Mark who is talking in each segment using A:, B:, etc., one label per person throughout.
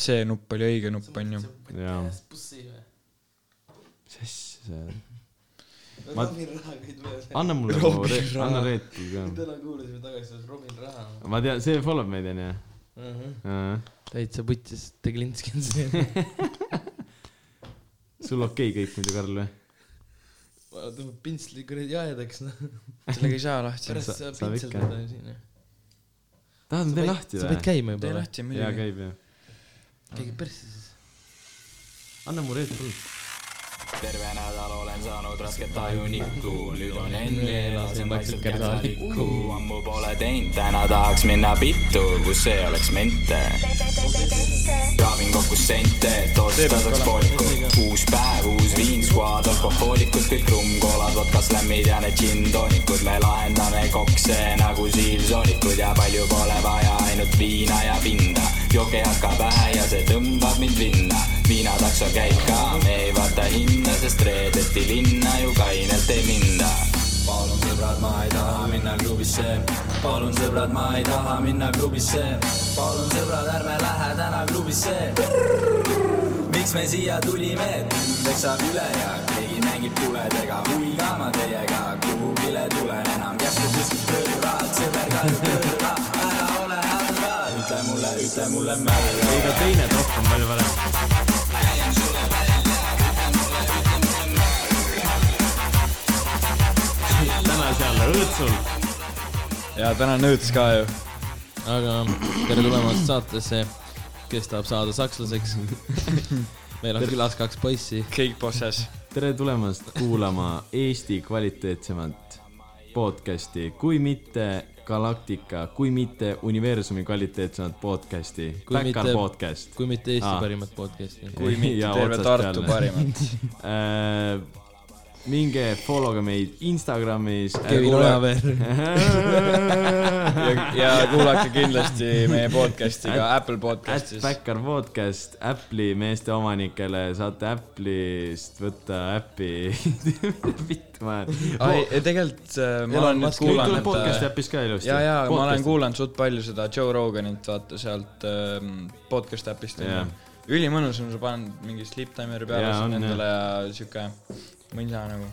A: see nupp oli õige nupp , onju .
B: Jaa.
C: pussi või ?
B: mis asja see on ? Ma-
C: Robin rahaga ei tule .
B: anna mulle
A: Robin
B: mu re- ,
A: Raha.
B: anna Reetu ka .
C: täna kuulasime tagasi , see Robin raha
B: ma tean , see follow meid onju .
C: mm . -hmm. täitsa putsis , Teglinski on see .
B: sul okei kõik muidu , Karl või ?
C: tõmbab pintsli kuradi aedaks , noh .
A: sellega ei saa lahti .
C: pärast
B: Sa-
C: saab
B: saab ikka.
C: pintseldada siin .
B: tahad , ma teen lahti
C: sa pead
B: või ?
C: käima
A: tee
C: juba või ?
A: lahti
B: jaa ,
A: muidugi .
B: käib jah .
C: keegi persse siis .
B: anna mu Reetu palun .
D: terve nädal olen saanud rasket ajunikku , nüüd on enne lasen vaikselt kärsalikku . ammu pole teinud , täna tahaks minna pittu , kus see oleks mente . kraavin kokku sente , et osta saaks pooliku . uus päev , uus viin , skuad , alkohoolikud , kõik rumkoolad , vodkas , lämmid ja need džinntonikud . me lahendame kokse nagu siilsoonikud ja palju pole vaja , ainult viina ja pinda . jooke hakkab pähe ja see tõmbab mind vinna . viinatakso käib ka , me ei vaata hinda , sest reedeti linna ju kainelt ei minda . palun sõbrad , ma ei taha minna klubisse . palun sõbrad , ma ei taha minna klubisse . palun sõbrad , ärme lähe täna klubisse miks me siia tulime , et tund eksab üle ja keegi mängib tuledega , huviga ma teiega kuhugile tulen enam , järsku kuskilt pöörad , sõber ka pöörda , ära ole häda , ütle mulle , ütle mulle märga .
B: ei , ka teine top on palju parem . täna seal õõtsul .
A: ja täna on õõts ka ju .
C: aga tere tulemast saatesse , kes tahab saada sakslaseks . meil on külas kaks poissi .
A: kõik bosses .
B: tere tulemast kuulama Eesti kvaliteetsemat podcasti , kui mitte Galaktika , kui mitte universumi kvaliteetsemat podcasti ,
C: Kui
B: Päkal
C: mitte-
B: podcast .
C: kui mitte Eesti
B: Aa.
C: parimat podcast'i .
A: kui mitte
B: Ja
A: terve
B: otsast
A: Tartu
B: peale.
A: parimat .
B: minge followge meid Instagramis .
C: Kevin Ojaveer .
A: ja , ja kuulake kindlasti meie podcast'i ka Apple
B: At
A: podcast'is .
B: Backer podcast , Apple'i meeste omanikele saate Apple'ist võtta äppi . vitt ma .
A: ai , tegelikult äh, ma
C: Elon
A: olen nüüd
C: Musk-
B: nüüd
A: kuulanud
B: tuleb podcast'i
A: äh,
B: äppis ka ilusti .
A: ja , ja ma olen kuulanud suht palju seda Joe Roganit , vaata sealt ähm, podcast äpist
B: Jaa.
A: onju . ülimõnus on , sa paned mingi sleep timer'i peale
B: Jaa,
A: yeah,
B: on,
A: endale ja siuke mõisa nagu .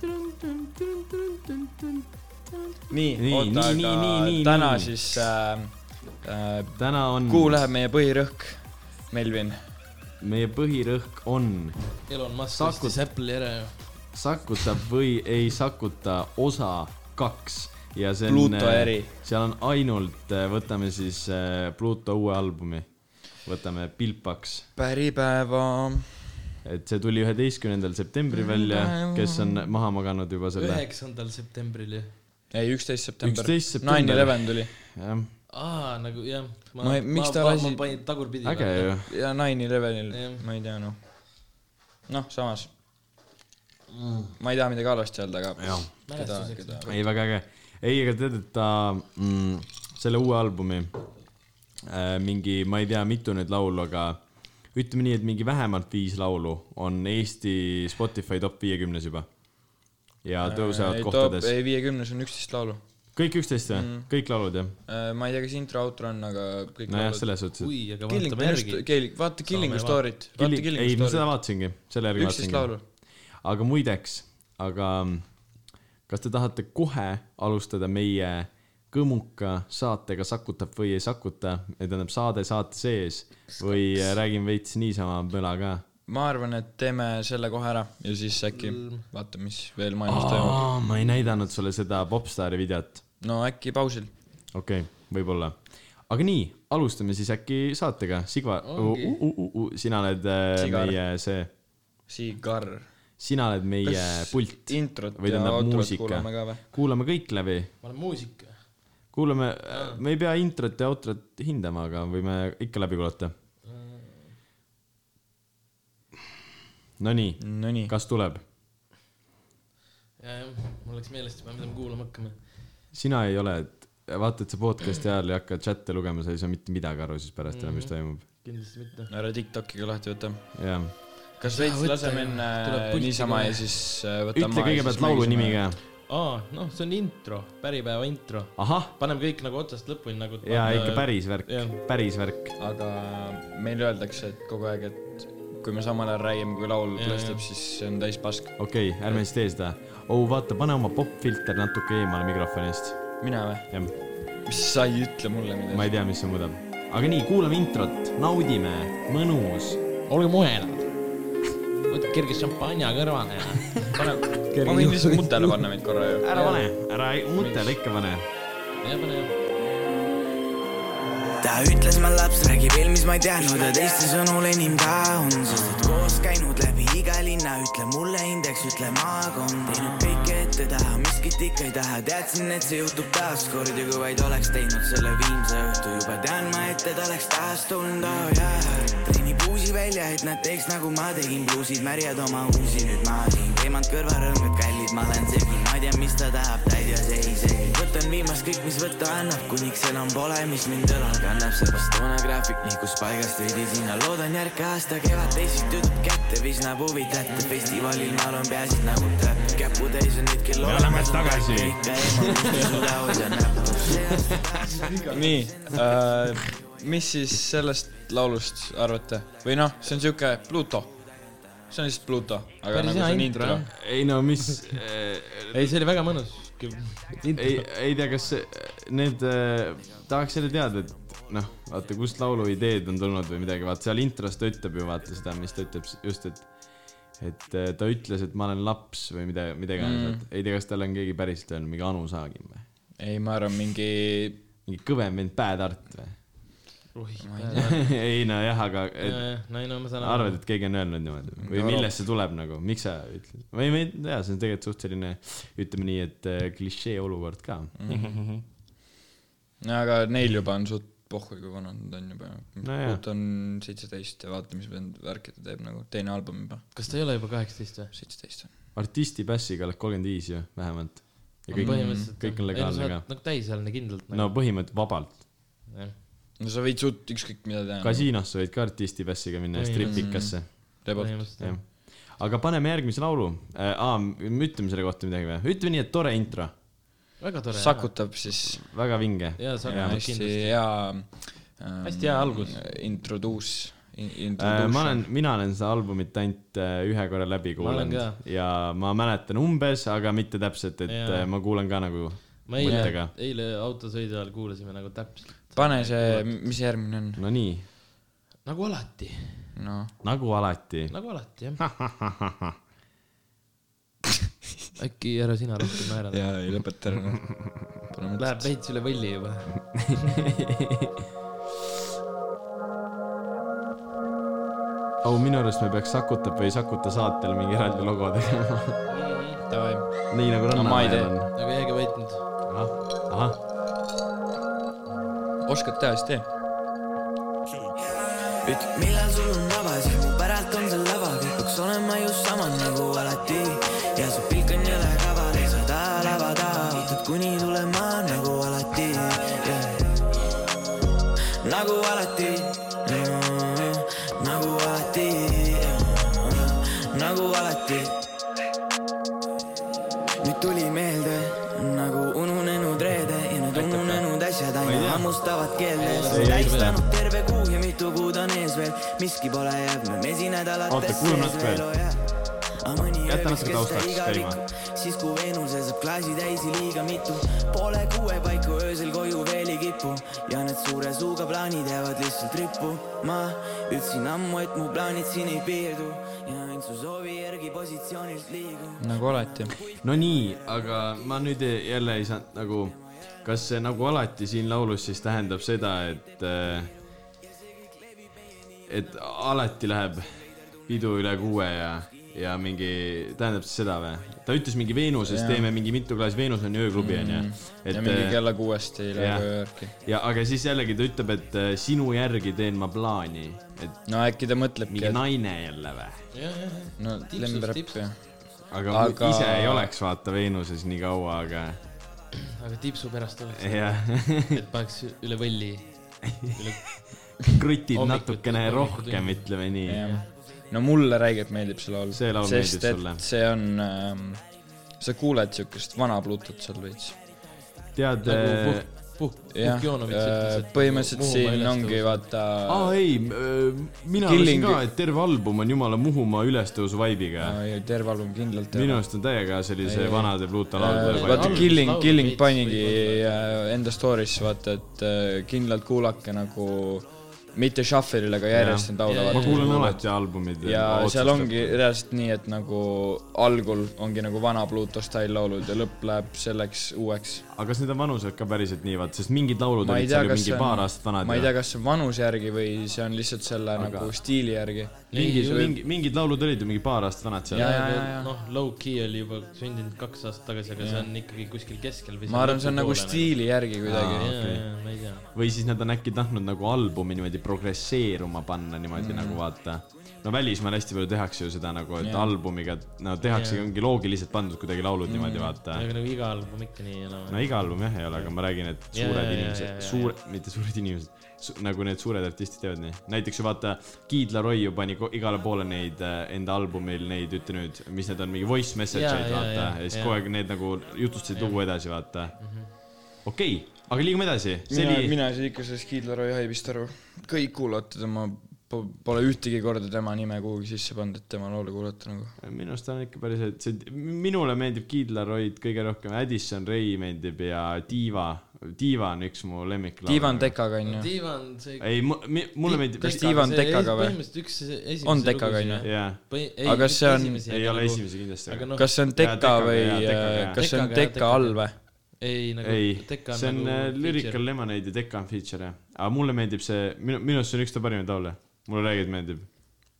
A: nii,
B: Nii,
A: nii , oota ,
B: nii,
A: aga
B: nii, nii, nii,
A: täna
B: nii.
A: siis äh, , äh,
B: täna on ,
A: kuhu läheb meie põhirõhk , Melvin ?
B: meie põhirõhk on
C: Elon Musk
B: Sakud.
C: ostis Apple'i ära ju .
B: sakutab või ei sakuta osa kaks ja see on äh,
A: Pluto , äri .
B: seal on ainult , võtame siis äh, Pluto uue albumi , võtame Pilpaks
A: päripäeva .
B: et see tuli üheteistkümnendal septembril välja , kes on maha maganud juba selle .
C: üheksandal septembril ju .
A: ei , üksteist september .
B: 11 september.
A: Nine Eleven tuli
B: jah ,
C: aa , nagu jah .
A: Ma ei- miks ta lasi-
C: ma panin tagurpidi .
B: äge ju .
A: ja Nine Elevenil
C: Jah. ,
A: ma ei tea noh . noh , samas
B: Mm.
A: ma ei taha midagi halvasti öelda , aga keda ,
C: Mälestuseks.
A: keda .
B: ei , väga äge . ei , aga tead , et ta mm, , selle uue albumi äh, mingi , ma ei tea , mitu nüüd laulu , aga ütleme nii , et mingi vähemalt viis laulu on Eesti Spotify top viiekümnes juba . ja tõusevad kohtades .
A: ei , Mm. viiekümnes on üksteist laulu .
B: kõik üksteist või ? kõik laulud jah ?
A: ma ei tea , kas intro , outro on , aga kõik
B: nojah ,
A: laulud .
B: selles suhtes , et
C: ui , aga
A: Killing ,
C: vaatame järgi .
A: vaata Killingu
C: Saame
A: story't , vaata
B: Killing , ei ,
A: Killingu
B: ma seda
A: story't .
B: vaatasingi , selle järgi
A: üksteist
B: vaatasingi
A: laulu .
B: aga muideks , aga mm, kas te tahate kohe alustada meie kõmuka saatega Sakutab või ei sakuta , tähendab saade saate sees või räägime veits niisama möla ka ?
A: ma arvan , et teeme selle kohe ära ja siis äkki
C: Mm.
A: vaatame , mis veel maailmas toimub .
B: ma ei näidanud sulle seda popstaari videot ,
A: no äkki pausil .
B: okei okay, , võib-olla . aga nii , alustame siis äkki saatega , Sigvar , sina oled äh,
A: Sigar.
B: meie see ,
A: Sigar .
B: sina oled meie
A: Kas
B: pult
A: introt
B: või
A: ja
B: tähendab
A: outrot
B: muusika
A: kuulame ka või? ,
B: kuulame kõik läbi
C: ma olen muusik .
B: kuulame ,
A: Äh.
B: me ei pea introt ja outrot hindama , aga võime ikka läbi kuulata . Nonii ,
A: Nonii .
B: kas tuleb ?
C: jah , jah , mul läks meelest juba , mida me kuulama hakkame .
B: sina ei ole , et vaata , et sa podcast'i ajal ei hakka chat'e lugema , sa ei saa mitte midagi aru siis pärast
A: Mhm.
B: enam , mis toimub .
C: kindlasti mitte .
A: ära TikToki ka lahti võta
B: jah .
A: kas veits
C: võta
A: laseme
C: ju.
A: enne
C: Tuleb pulti
A: niisama
C: kohe.
A: ja siis äh, võtame
B: ütle kõigepealt laulu nimi . ka .
C: aa , noh , see on intro , päripäeva intro .
B: ahah ,
C: paneme kõik nagu otsast lõpuni nagu .
B: ja ikka päris värk
C: jah. ,
B: päris värk .
A: aga meil öeldakse , et kogu aeg , et kui me samal ajal räägime , kui laul
C: Jaa,
A: lõstab ,
C: jaa.
A: siis see on täis pask .
B: okei okay, , ärme siis tee seda . oh , vaata , pane oma popfilter natuke eemale mikrofonist .
A: mina või ?
B: jah ,
A: mis sa ei ütle mulle midagi
B: ma ? ei tea , mis see muudab . aga nii , kuulame introt , naudime , mõnus .
C: olge muhelad . võtke kerge šampanja kõrvale ja .
A: pane , ma võin lihtsalt mutele panna meid korra ju .
B: ära pane , ära mõtle , ikka pane .
C: ja pane .
E: ta ütles , ma laps räägib eelmis , ma ei teadnud ja teiste sõnul enim ta on , sest et koos käinud läbi iga linna , ütle mulle indeks , ütle maakond , teinud kõike ette taha , miskit ikka ei taha , teadsin , et see juhtub taaskord ja kui vaid oleks teinud selle viimse õhtu juba tean ma , et ta oleks taas tulnud , oh jaa . treeni puusi välja , et nad teeks nagu ma tegin , pluusid märjad oma uusi , nüüd ma teen teemant kõrvarõõmud kallid , ma olen segi , ma ei tea , mis ta tahab , ta ei tea see isegi , võtan viimast kõik , mis võtta annab , kuniks enam pole , mis mind õlal kannab , seepärast toona graafik nihkus paigast veidi sinna , loodan järk aasta kevad teised tüdruk kätte , visnab huvi kätte , festivalil ma olen peasid nagu täpp , käputäis on hetkel
B: Me oleme tagasi.
A: nii äh, , mis siis sellest laulust arvate ? või noh , see on siuke Pluto . see on lihtsalt Pluto , aga
C: Päris
A: nagu
C: hea
A: see on
C: intro,
A: intro .
C: jah.
B: ei no mis ,
C: ei , see oli väga mõnus .
B: ei , ei tea , kas see- need , tahaks jälle teada , et noh , vaata , kust laulu ideed on tulnud või midagi , vaata seal intros ta ütleb ju vaata seda , mis ta ütleb s- just , et et eh, ta ütles , et ma olen laps või mida , midagi mm. , ei tea , kas tal on keegi päriselt öelnud , mingi Anu Saagim või ?
A: ei , ma arvan , mingi ,
B: mingi kõvem vend Bad Art või ? ei nojah , aga et
C: no ei no ma saan
B: arvad , et keegi on öelnud niimoodi või
A: No.
B: millest see tuleb nagu , miks sa ütled ? või ma ei tea , see on tegelikult suht selline , ütleme nii , et eh, klišee olukord ka
A: no aga neil juba on suht pohhu , kui vana nad on juba .
B: jaa.
A: Pluto on seitseteist ja vaata , mis vend värki ta teeb nagu , teine album juba ,
C: kas ta ei ole juba kaheksateist või ?
A: seitseteist on .
B: artisti passiga oled kolmkümmend viis ju , vähemalt . ja kõik ,
C: põhimõtteliselt
B: kõik on legaalne ka .
C: nagu täisealine kindlalt
B: no . põhimõtteliselt vabalt .
A: no sa võid suht ükskõik mida teha . nagu
B: kasiinos sa võid ka artisti passiga minna ja stripikasse ,
A: rebot .
B: jah . aga paneme järgmise laulu . aa , me ütleme selle kohta midagi või ? ütleme nii , et tore intro ,
C: väga tore .
A: sakutab siis
B: väga vinge .
C: jaa ,
A: Ja
C: sakutab
A: hästi
C: kindlasti .
A: hea ähm, .
C: Hästi hea algus. Äh,
A: Introduce .
B: Äh, ma olen , mina olen seda albumit ainult äh, ühe korra läbi
C: Ma olen
B: kuulanud ja ma mäletan umbes , aga mitte täpselt , et
C: Jaa.
B: äh, ma kuulan ka nagu
C: ma eile
B: mõttega .,
C: eile autosõidu ajal kuulasime nagu täpselt .
A: pane see , mis see järgmine on ?
B: Nonii ,
C: nagu alati ,
A: noh ,
B: nagu alati .
C: nagu alati jah . äkki ära sina rohkem naerad .
A: ja ei lõpeta ära .
C: Läheb veits üle võlli juba .
B: au , minu arust me peaks Sakutab või Sakuta saatel mingi eraldi logo tegema .
A: Davai ,
B: nii nagu
A: ma ei tee.
B: Rannamäel on .
C: aga jääge vait nüüd .
B: ahah , ahah ,
A: oskad teha , siis tee .
E: millal sul on vabas ja mu päralt on seal lava , kipuks olema just sama nagu alati ja su pilk on jõle kaval ja sa taha lava taha ootab kuni tulema nagu alati yeah. . nagu alati mm, , nagu alati mm, , nagu alati nüüd tuli meelde nagu ununenud reede ja need ununenud asjad aina hammustavad keeles . tähistanud terve kuu ja mitu kuud on ees veel , miski pole jääb me
B: Oota,
E: mesinädalatest Oh
B: kuulame natuke veel. . Jäta natuke taustaks käima.
E: siis kui Veenusel saab klaasi täis ja liiga mitu , poole kuue paiku öösel koju veel ei kipu ja need suure suuga plaanid jäävad lihtsalt rippu . ma ütlesin ammu , et mu plaanid siin ei piirdu ja ainult su soovi järgi positsioonilt liigun .
A: nagu alati .
B: no nii , aga ma nüüd ei- jälle ei saanud nagu , kas see nagu alati siin laulus siis tähendab seda , et äh, et alati läheb pidu üle kuue ja , ja mingi , tähendab siis seda või ? ta ütles mingi Veenuses teeme mingi mitu klaasi , Veenus on ju ööklubi onju mm. .
A: ja mingi kella kuuest ei
B: jah.
A: lähe värki .
B: ja aga siis jällegi ta ütleb , et äh, sinu järgi teen ma plaani , et
A: no äkki ta mõtlebki
B: mingi , naine jälle või ?
A: et no
C: tipsus,
A: lembräpp
C: tipsus.
A: ja .
B: aga, aga...
A: Aga-
B: ise ei oleks vaata Veenuses nii kaua , aga
C: aga tipsu pärast oleks ,
B: jah ,
C: et paneks üle võlli .
B: krutid
C: Hommikuti-
B: natukene
C: hommikuti-
B: rohkem , ütleme nii .
A: no mulle räigelt meeldib see laul .
B: See laul meeldib sulle.
A: see on ähm, sa kuuled siukest vana Bluetooth seal veits .
B: tead , äh,
C: nagu puht , puht ,
A: jah äh,
C: puht Joonovits ,
A: põhimõtteliselt siin ongi vaata ,
B: aa ei , mina
A: Killing-
B: arvasin ka , et terve album on jumala Muhumaa ülestõusu vaibiga .
A: äh, terve album kindlalt .
B: minu arust on täiega sellise vanade Pluto
A: vaata
B: laulude vibe .
C: alguses
A: Killing ,
C: laulu
A: Killing
C: veits
A: panigi äh, enda story'sse vaata , et äh, kindlalt kuulake nagu mitte shuffle'il , aga järjest neid laule
B: ma
A: vaata .
B: kuulan alati albumid .
A: ja seal ongi . reaalselt nii , et nagu algul ongi nagu vana Bluetooth style laulud ja lõpp läheb selleks uueks .
B: aga kas need on vanuselt ka päriselt nii , vaata , sest mingid laulud
A: ma ei
B: olid
A: tea ,
B: seal ju
A: kas see
B: mingi paar aastat
A: on ,
B: vanad
A: ma ei tea , kas see on vanuse järgi või see on lihtsalt selle aga... nagu stiili järgi .
B: mingi , mingi , mingid laulud olid ju mingi paar aastat vanad seal .
A: Jaa, jaa, jaa, jaa.
C: noh , low-key oli juba sündinud kaks aastat tagasi , aga see on ikkagi kuskil keskel või
A: ma arvan , see on nagu . stiili järgi kuidagi .
C: jaa , jaa , ma ei tea .
B: või siis nad on äkki tahtnud nagu albumi niimoodi progresseeruma panna niimoodi mm. nagu vaata . no välismaal hästi palju tehakse ju seda nagu , et yeah. albumiga , no tehaksegi yeah. , ongi loogiliselt pandud kuidagi laulud mm. niimoodi vaata .
C: aga nagu iga album ikka nii ja naa .
B: no iga album jah ei ole , aga ma räägin , et suured
C: jaa,
B: yeah,
C: jaa,
B: inimesed
C: jaa, jaa,
B: yeah, , suure yeah. , mitte suured inimesed su, , nagu need suured artistid teevad nii . näiteks ju vaata , Kid Laroi ju pani ko- igale poole neid äh, enda albumil neid , ütle nüüd , mis need on , mingi voice message
C: Jaa,
B: eid
C: jaa,
B: vaata ja,
C: jaa,
B: ja siis
C: jaa. Mhm.
B: kogu aeg need nagu jutustasid lugu edasi vaata mm -hmm. . okei okay, , aga liigume edasi . see
A: mina ,
B: oli ,
A: mina ei saa ikka sellest Kiidleroi haibist aru . kõik kuulate tema , pole ühtegi korda tema nime kuhugi sisse pannud , et tema laule kuulata nagu .
B: minu arust ta on ikka päris , et see , minule meeldib Kid Laroid kõige rohkem , Addison Ray meeldib ja Diva , Diva on üks mu lemmik .
A: Divan . Tekaga onju .
C: Divan , see .
B: ei , mulle meeldib ,
A: kas Divan Tekaga või?
C: põhimõtteliselt üks esimesi .
A: On Tekaga, on ju?
B: jaa ,
C: ju
A: Aga see on-
B: ei ole esimesi kindlasti .
C: aga noh ,
A: kas see on
B: Jaa,
A: Teka
B: Tekaga,
A: või äh,
B: jaa, , Tekaga,
A: kas see on
C: jaa.
A: Teka
C: Tekaga,
A: all või ?
C: ei nagu
B: ei ,
C: Teka on
B: see on äh,
C: nagu .
B: Lyrical . Lemonade ja Teka on feature jah , aga mulle meeldib see , minu , minu arust see on üks ta parimaid laule , mulle tegelikult meeldib .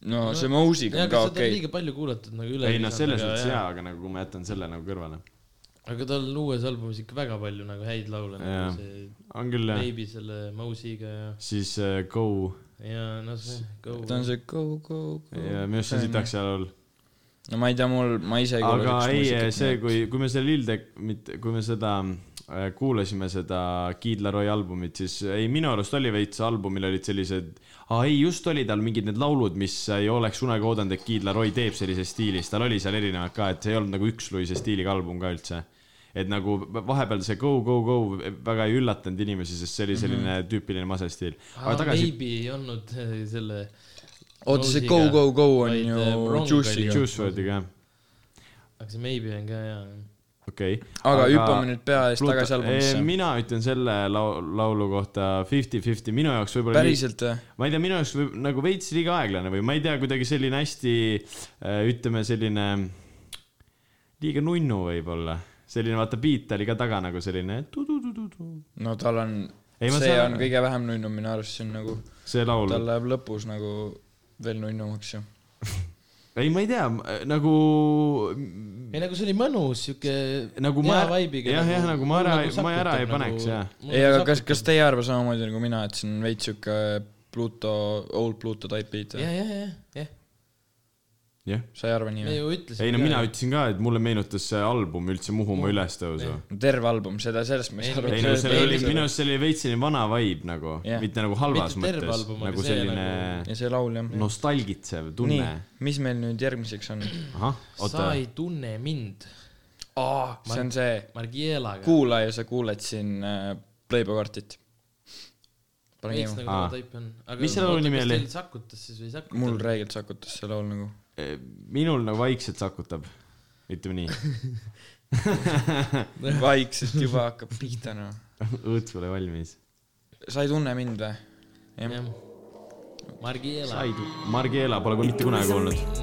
A: no see Mousiga
C: jaa ,
A: on ka
C: aga seda on
A: okei .
C: liiga palju kuulatud nagu üle .
B: ei noh , selles mõttes hea , aga nagu kui ma jätan selle nagu kõrvale .
C: aga tal on uues albumis ikka väga palju nagu häid laule ,
B: Jaa.
C: nagu see
B: on küll jah ,
C: Baby selle Mousiga ja ,
B: siis äh, Go
C: ja noh , see Go .
A: ta on see go , go , go .
B: ja minu arust see on sitaks hea laul .
A: no ma ei tea , mul , ma ise ei
B: aga
A: kuule
B: ei , see , kui , kui me selle Lilde , mitte , kui me seda äh, kuulasime seda Kid Laroi albumit , siis eh, ei , minu arust oli veits albumil olid sellised , aa ei , just oli tal mingid need laulud , mis eh, ei oleks kunagi oodanud , et Kid Laroi teeb sellises stiilis , tal oli seal erinevad ka , et see ei olnud nagu üks Luise stiiliga album ka üldse . et nagu vahepeal see Go , Go , Go väga ei üllatanud inimesi , sest see oli selline mm -hmm. tüüpiline masestiil .
C: aga
B: aga tagasi
C: tagasi . Maybe ei olnud eh, selle .
A: oota , see go , go , go on
C: Vaid,
A: ju
C: äh, Wrong
A: Juicy'ga .
B: Juice WRLD-iga jah ,
C: aga see Maybe on ka hea .
B: okei okay. .
A: aga hüppame nüüd pea eest tagasi
B: Eh,
A: albumisse .
B: mina ütlen selle lau- , laulu kohta fifty-fifty , minu jaoks võib-olla .
A: päriselt äh, või ?
B: ma ei tea , minu jaoks võib, nagu veits liiga aeglane või ma ei tea , kuidagi selline hästi äh, ütleme , selline liiga nunnu võib-olla . selline vaata , beat oli ka taga nagu selline tu-tu-tu-tu-tu .
A: no tal on ,
B: Ei, ma
A: see
B: saan
A: on
B: aru.
A: kõige vähem nunnu minu arust , see on nagu
B: see laul
A: tal . läheb lõpus nagu veel nunnumaks ju .
B: ei , ma ei tea , nagu ,
C: ei nagu see oli mõnus , siuke .
B: Nagu ma- jah, jah, nagu ma ära ei- ma ära ei
C: nagu
B: paneks, jah.
A: ei , aga kas , kas teie arva samamoodi nagu mina , et see on veits siuke äh, Pluto , old Pluto type beat
C: ja ,
A: või ?
C: ja , ja , jah ,
B: jah .
A: sa ei arva nii
C: me
A: või ?
C: ju ütlesime .
B: ei no mina . ütlesin ka , et mulle meenutas see album üldse Muhumaa ülestõusu .
A: terve album , seda , sellest ma ei saa aru .
B: ei no seal oli , minu arust see oli veits selline vana vibe nagu
A: Jah.
B: yeah. , mitte nagu halvas
C: Mitte terve
B: mõttes ,
C: album, aga
B: nagu
C: see
B: selline
C: nagu-
B: nagu...
A: ja see laul jah .
B: nostalgitsev
A: nii
B: tunne .,
A: mis meil nüüd järgmiseks on ?
B: ahah , oota
C: sa , ei tunne mind
A: see on see ,
C: Margielaga .
A: kuula ja sa kuuled siin äh, Playboy kartit . pane
C: veits
A: käima .
C: nagu
B: Aa.
C: ta taipe on .
B: Mis selle laulu nimi oli?
C: sakutas siis või ei sakutanud ?
A: mul räigelt sakutas see laul nagu .
B: E, minul nagu vaikselt sakutab , ütleme nii ,
A: vaikselt juba hakkab pihta noh .
B: õõtsule valmis .
A: sa ei tunne mind või ? jah .
C: jah . Margiela .
B: said , Margiela pole mitte kunagi kuulnud .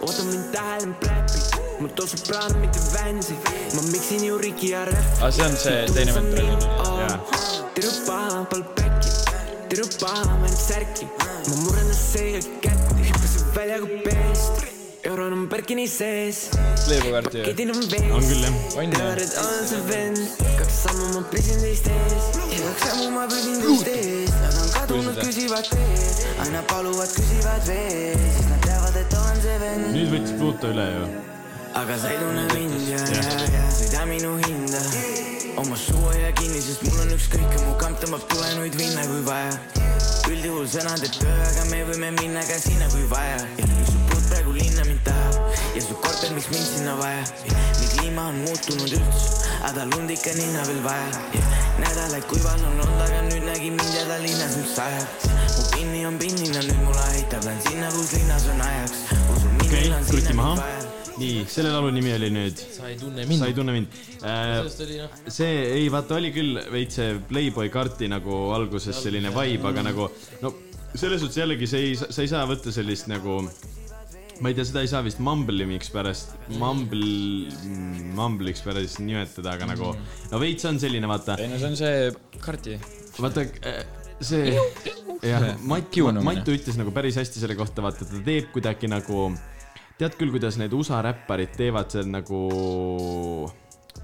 E: oota mind tähele , Brad Pitt , mul tõuseb plaan , mitte vänsi , ma miksin ju Ricky ja Räpi .
A: aa , Ah, see on see teine vend praegu .
B: jaa ,
E: tere paha , palun päkki , tere paha , ma nüüd särki , ma murran seega kätte , hüppasin välja kui peest , euron on pärkini sees ,
A: Playboy karti või ?
E: kedin on vees .
B: on küll jah .
A: on ju ?
E: Tead , et on see vend , kaks sammu ma püsin teist ees , kaks sammu ma püsin teist ees , nad on kadunud , küsivad teed , aina paluvad , küsivad veel , siis nad teavad , et on see vend .
B: nüüd võttis Pluto üle ju .
E: aga sa ei tunne mind ja , ja , ja sa ei tea minu hinda . oma suu ei jää kinni , sest mul on ükskõik ja mu kamp tõmbab tulenuid vinna , kui vaja . üldjuhul sõna teeb töö , aga me võime minna ka sinna , kui vaja . ja nüüd su puud praegu linna mind tahab ja su korter , miks mind sinna vaja . nii kliima on muutunud üldse , aga lund ikka ninna veel vaja . nädalaid kuival on olnud , aga nüüd nägin mind jälle linnas , mis sajab . mu pinni on pinnina , nüüd mul aitab , lähen sinna , kus linnas on ajaks . usun ,
B: okei
E: minul on , sinna
B: kruti
E: mind
B: maha
E: vaja .
B: nii , selle laulu nimi oli nüüd
C: sa ei tunne
B: Sa ei
C: mind .
B: tunne mind äh, .
C: sellest oli noh ,
B: see ei , vaata , oli küll veits see Playboy karti nagu alguses selline vibe , aga nagu no selles suhtes jällegi see ei , sa ei saa võtta sellist nagu , ma ei tea , seda ei saa vist mumblimiks pärast , mumble , mumbliks pärast nimetada , aga nagu no veits on selline , vaata ,
A: ei no see on see kardi .
B: vaata äh, see , jah , Matt ,
A: Kiunumine.
B: Mattu ütles nagu päris hästi selle kohta , vaata , ta teeb kuidagi nagu , tead küll , kuidas need USA räpparid teevad seal nagu ,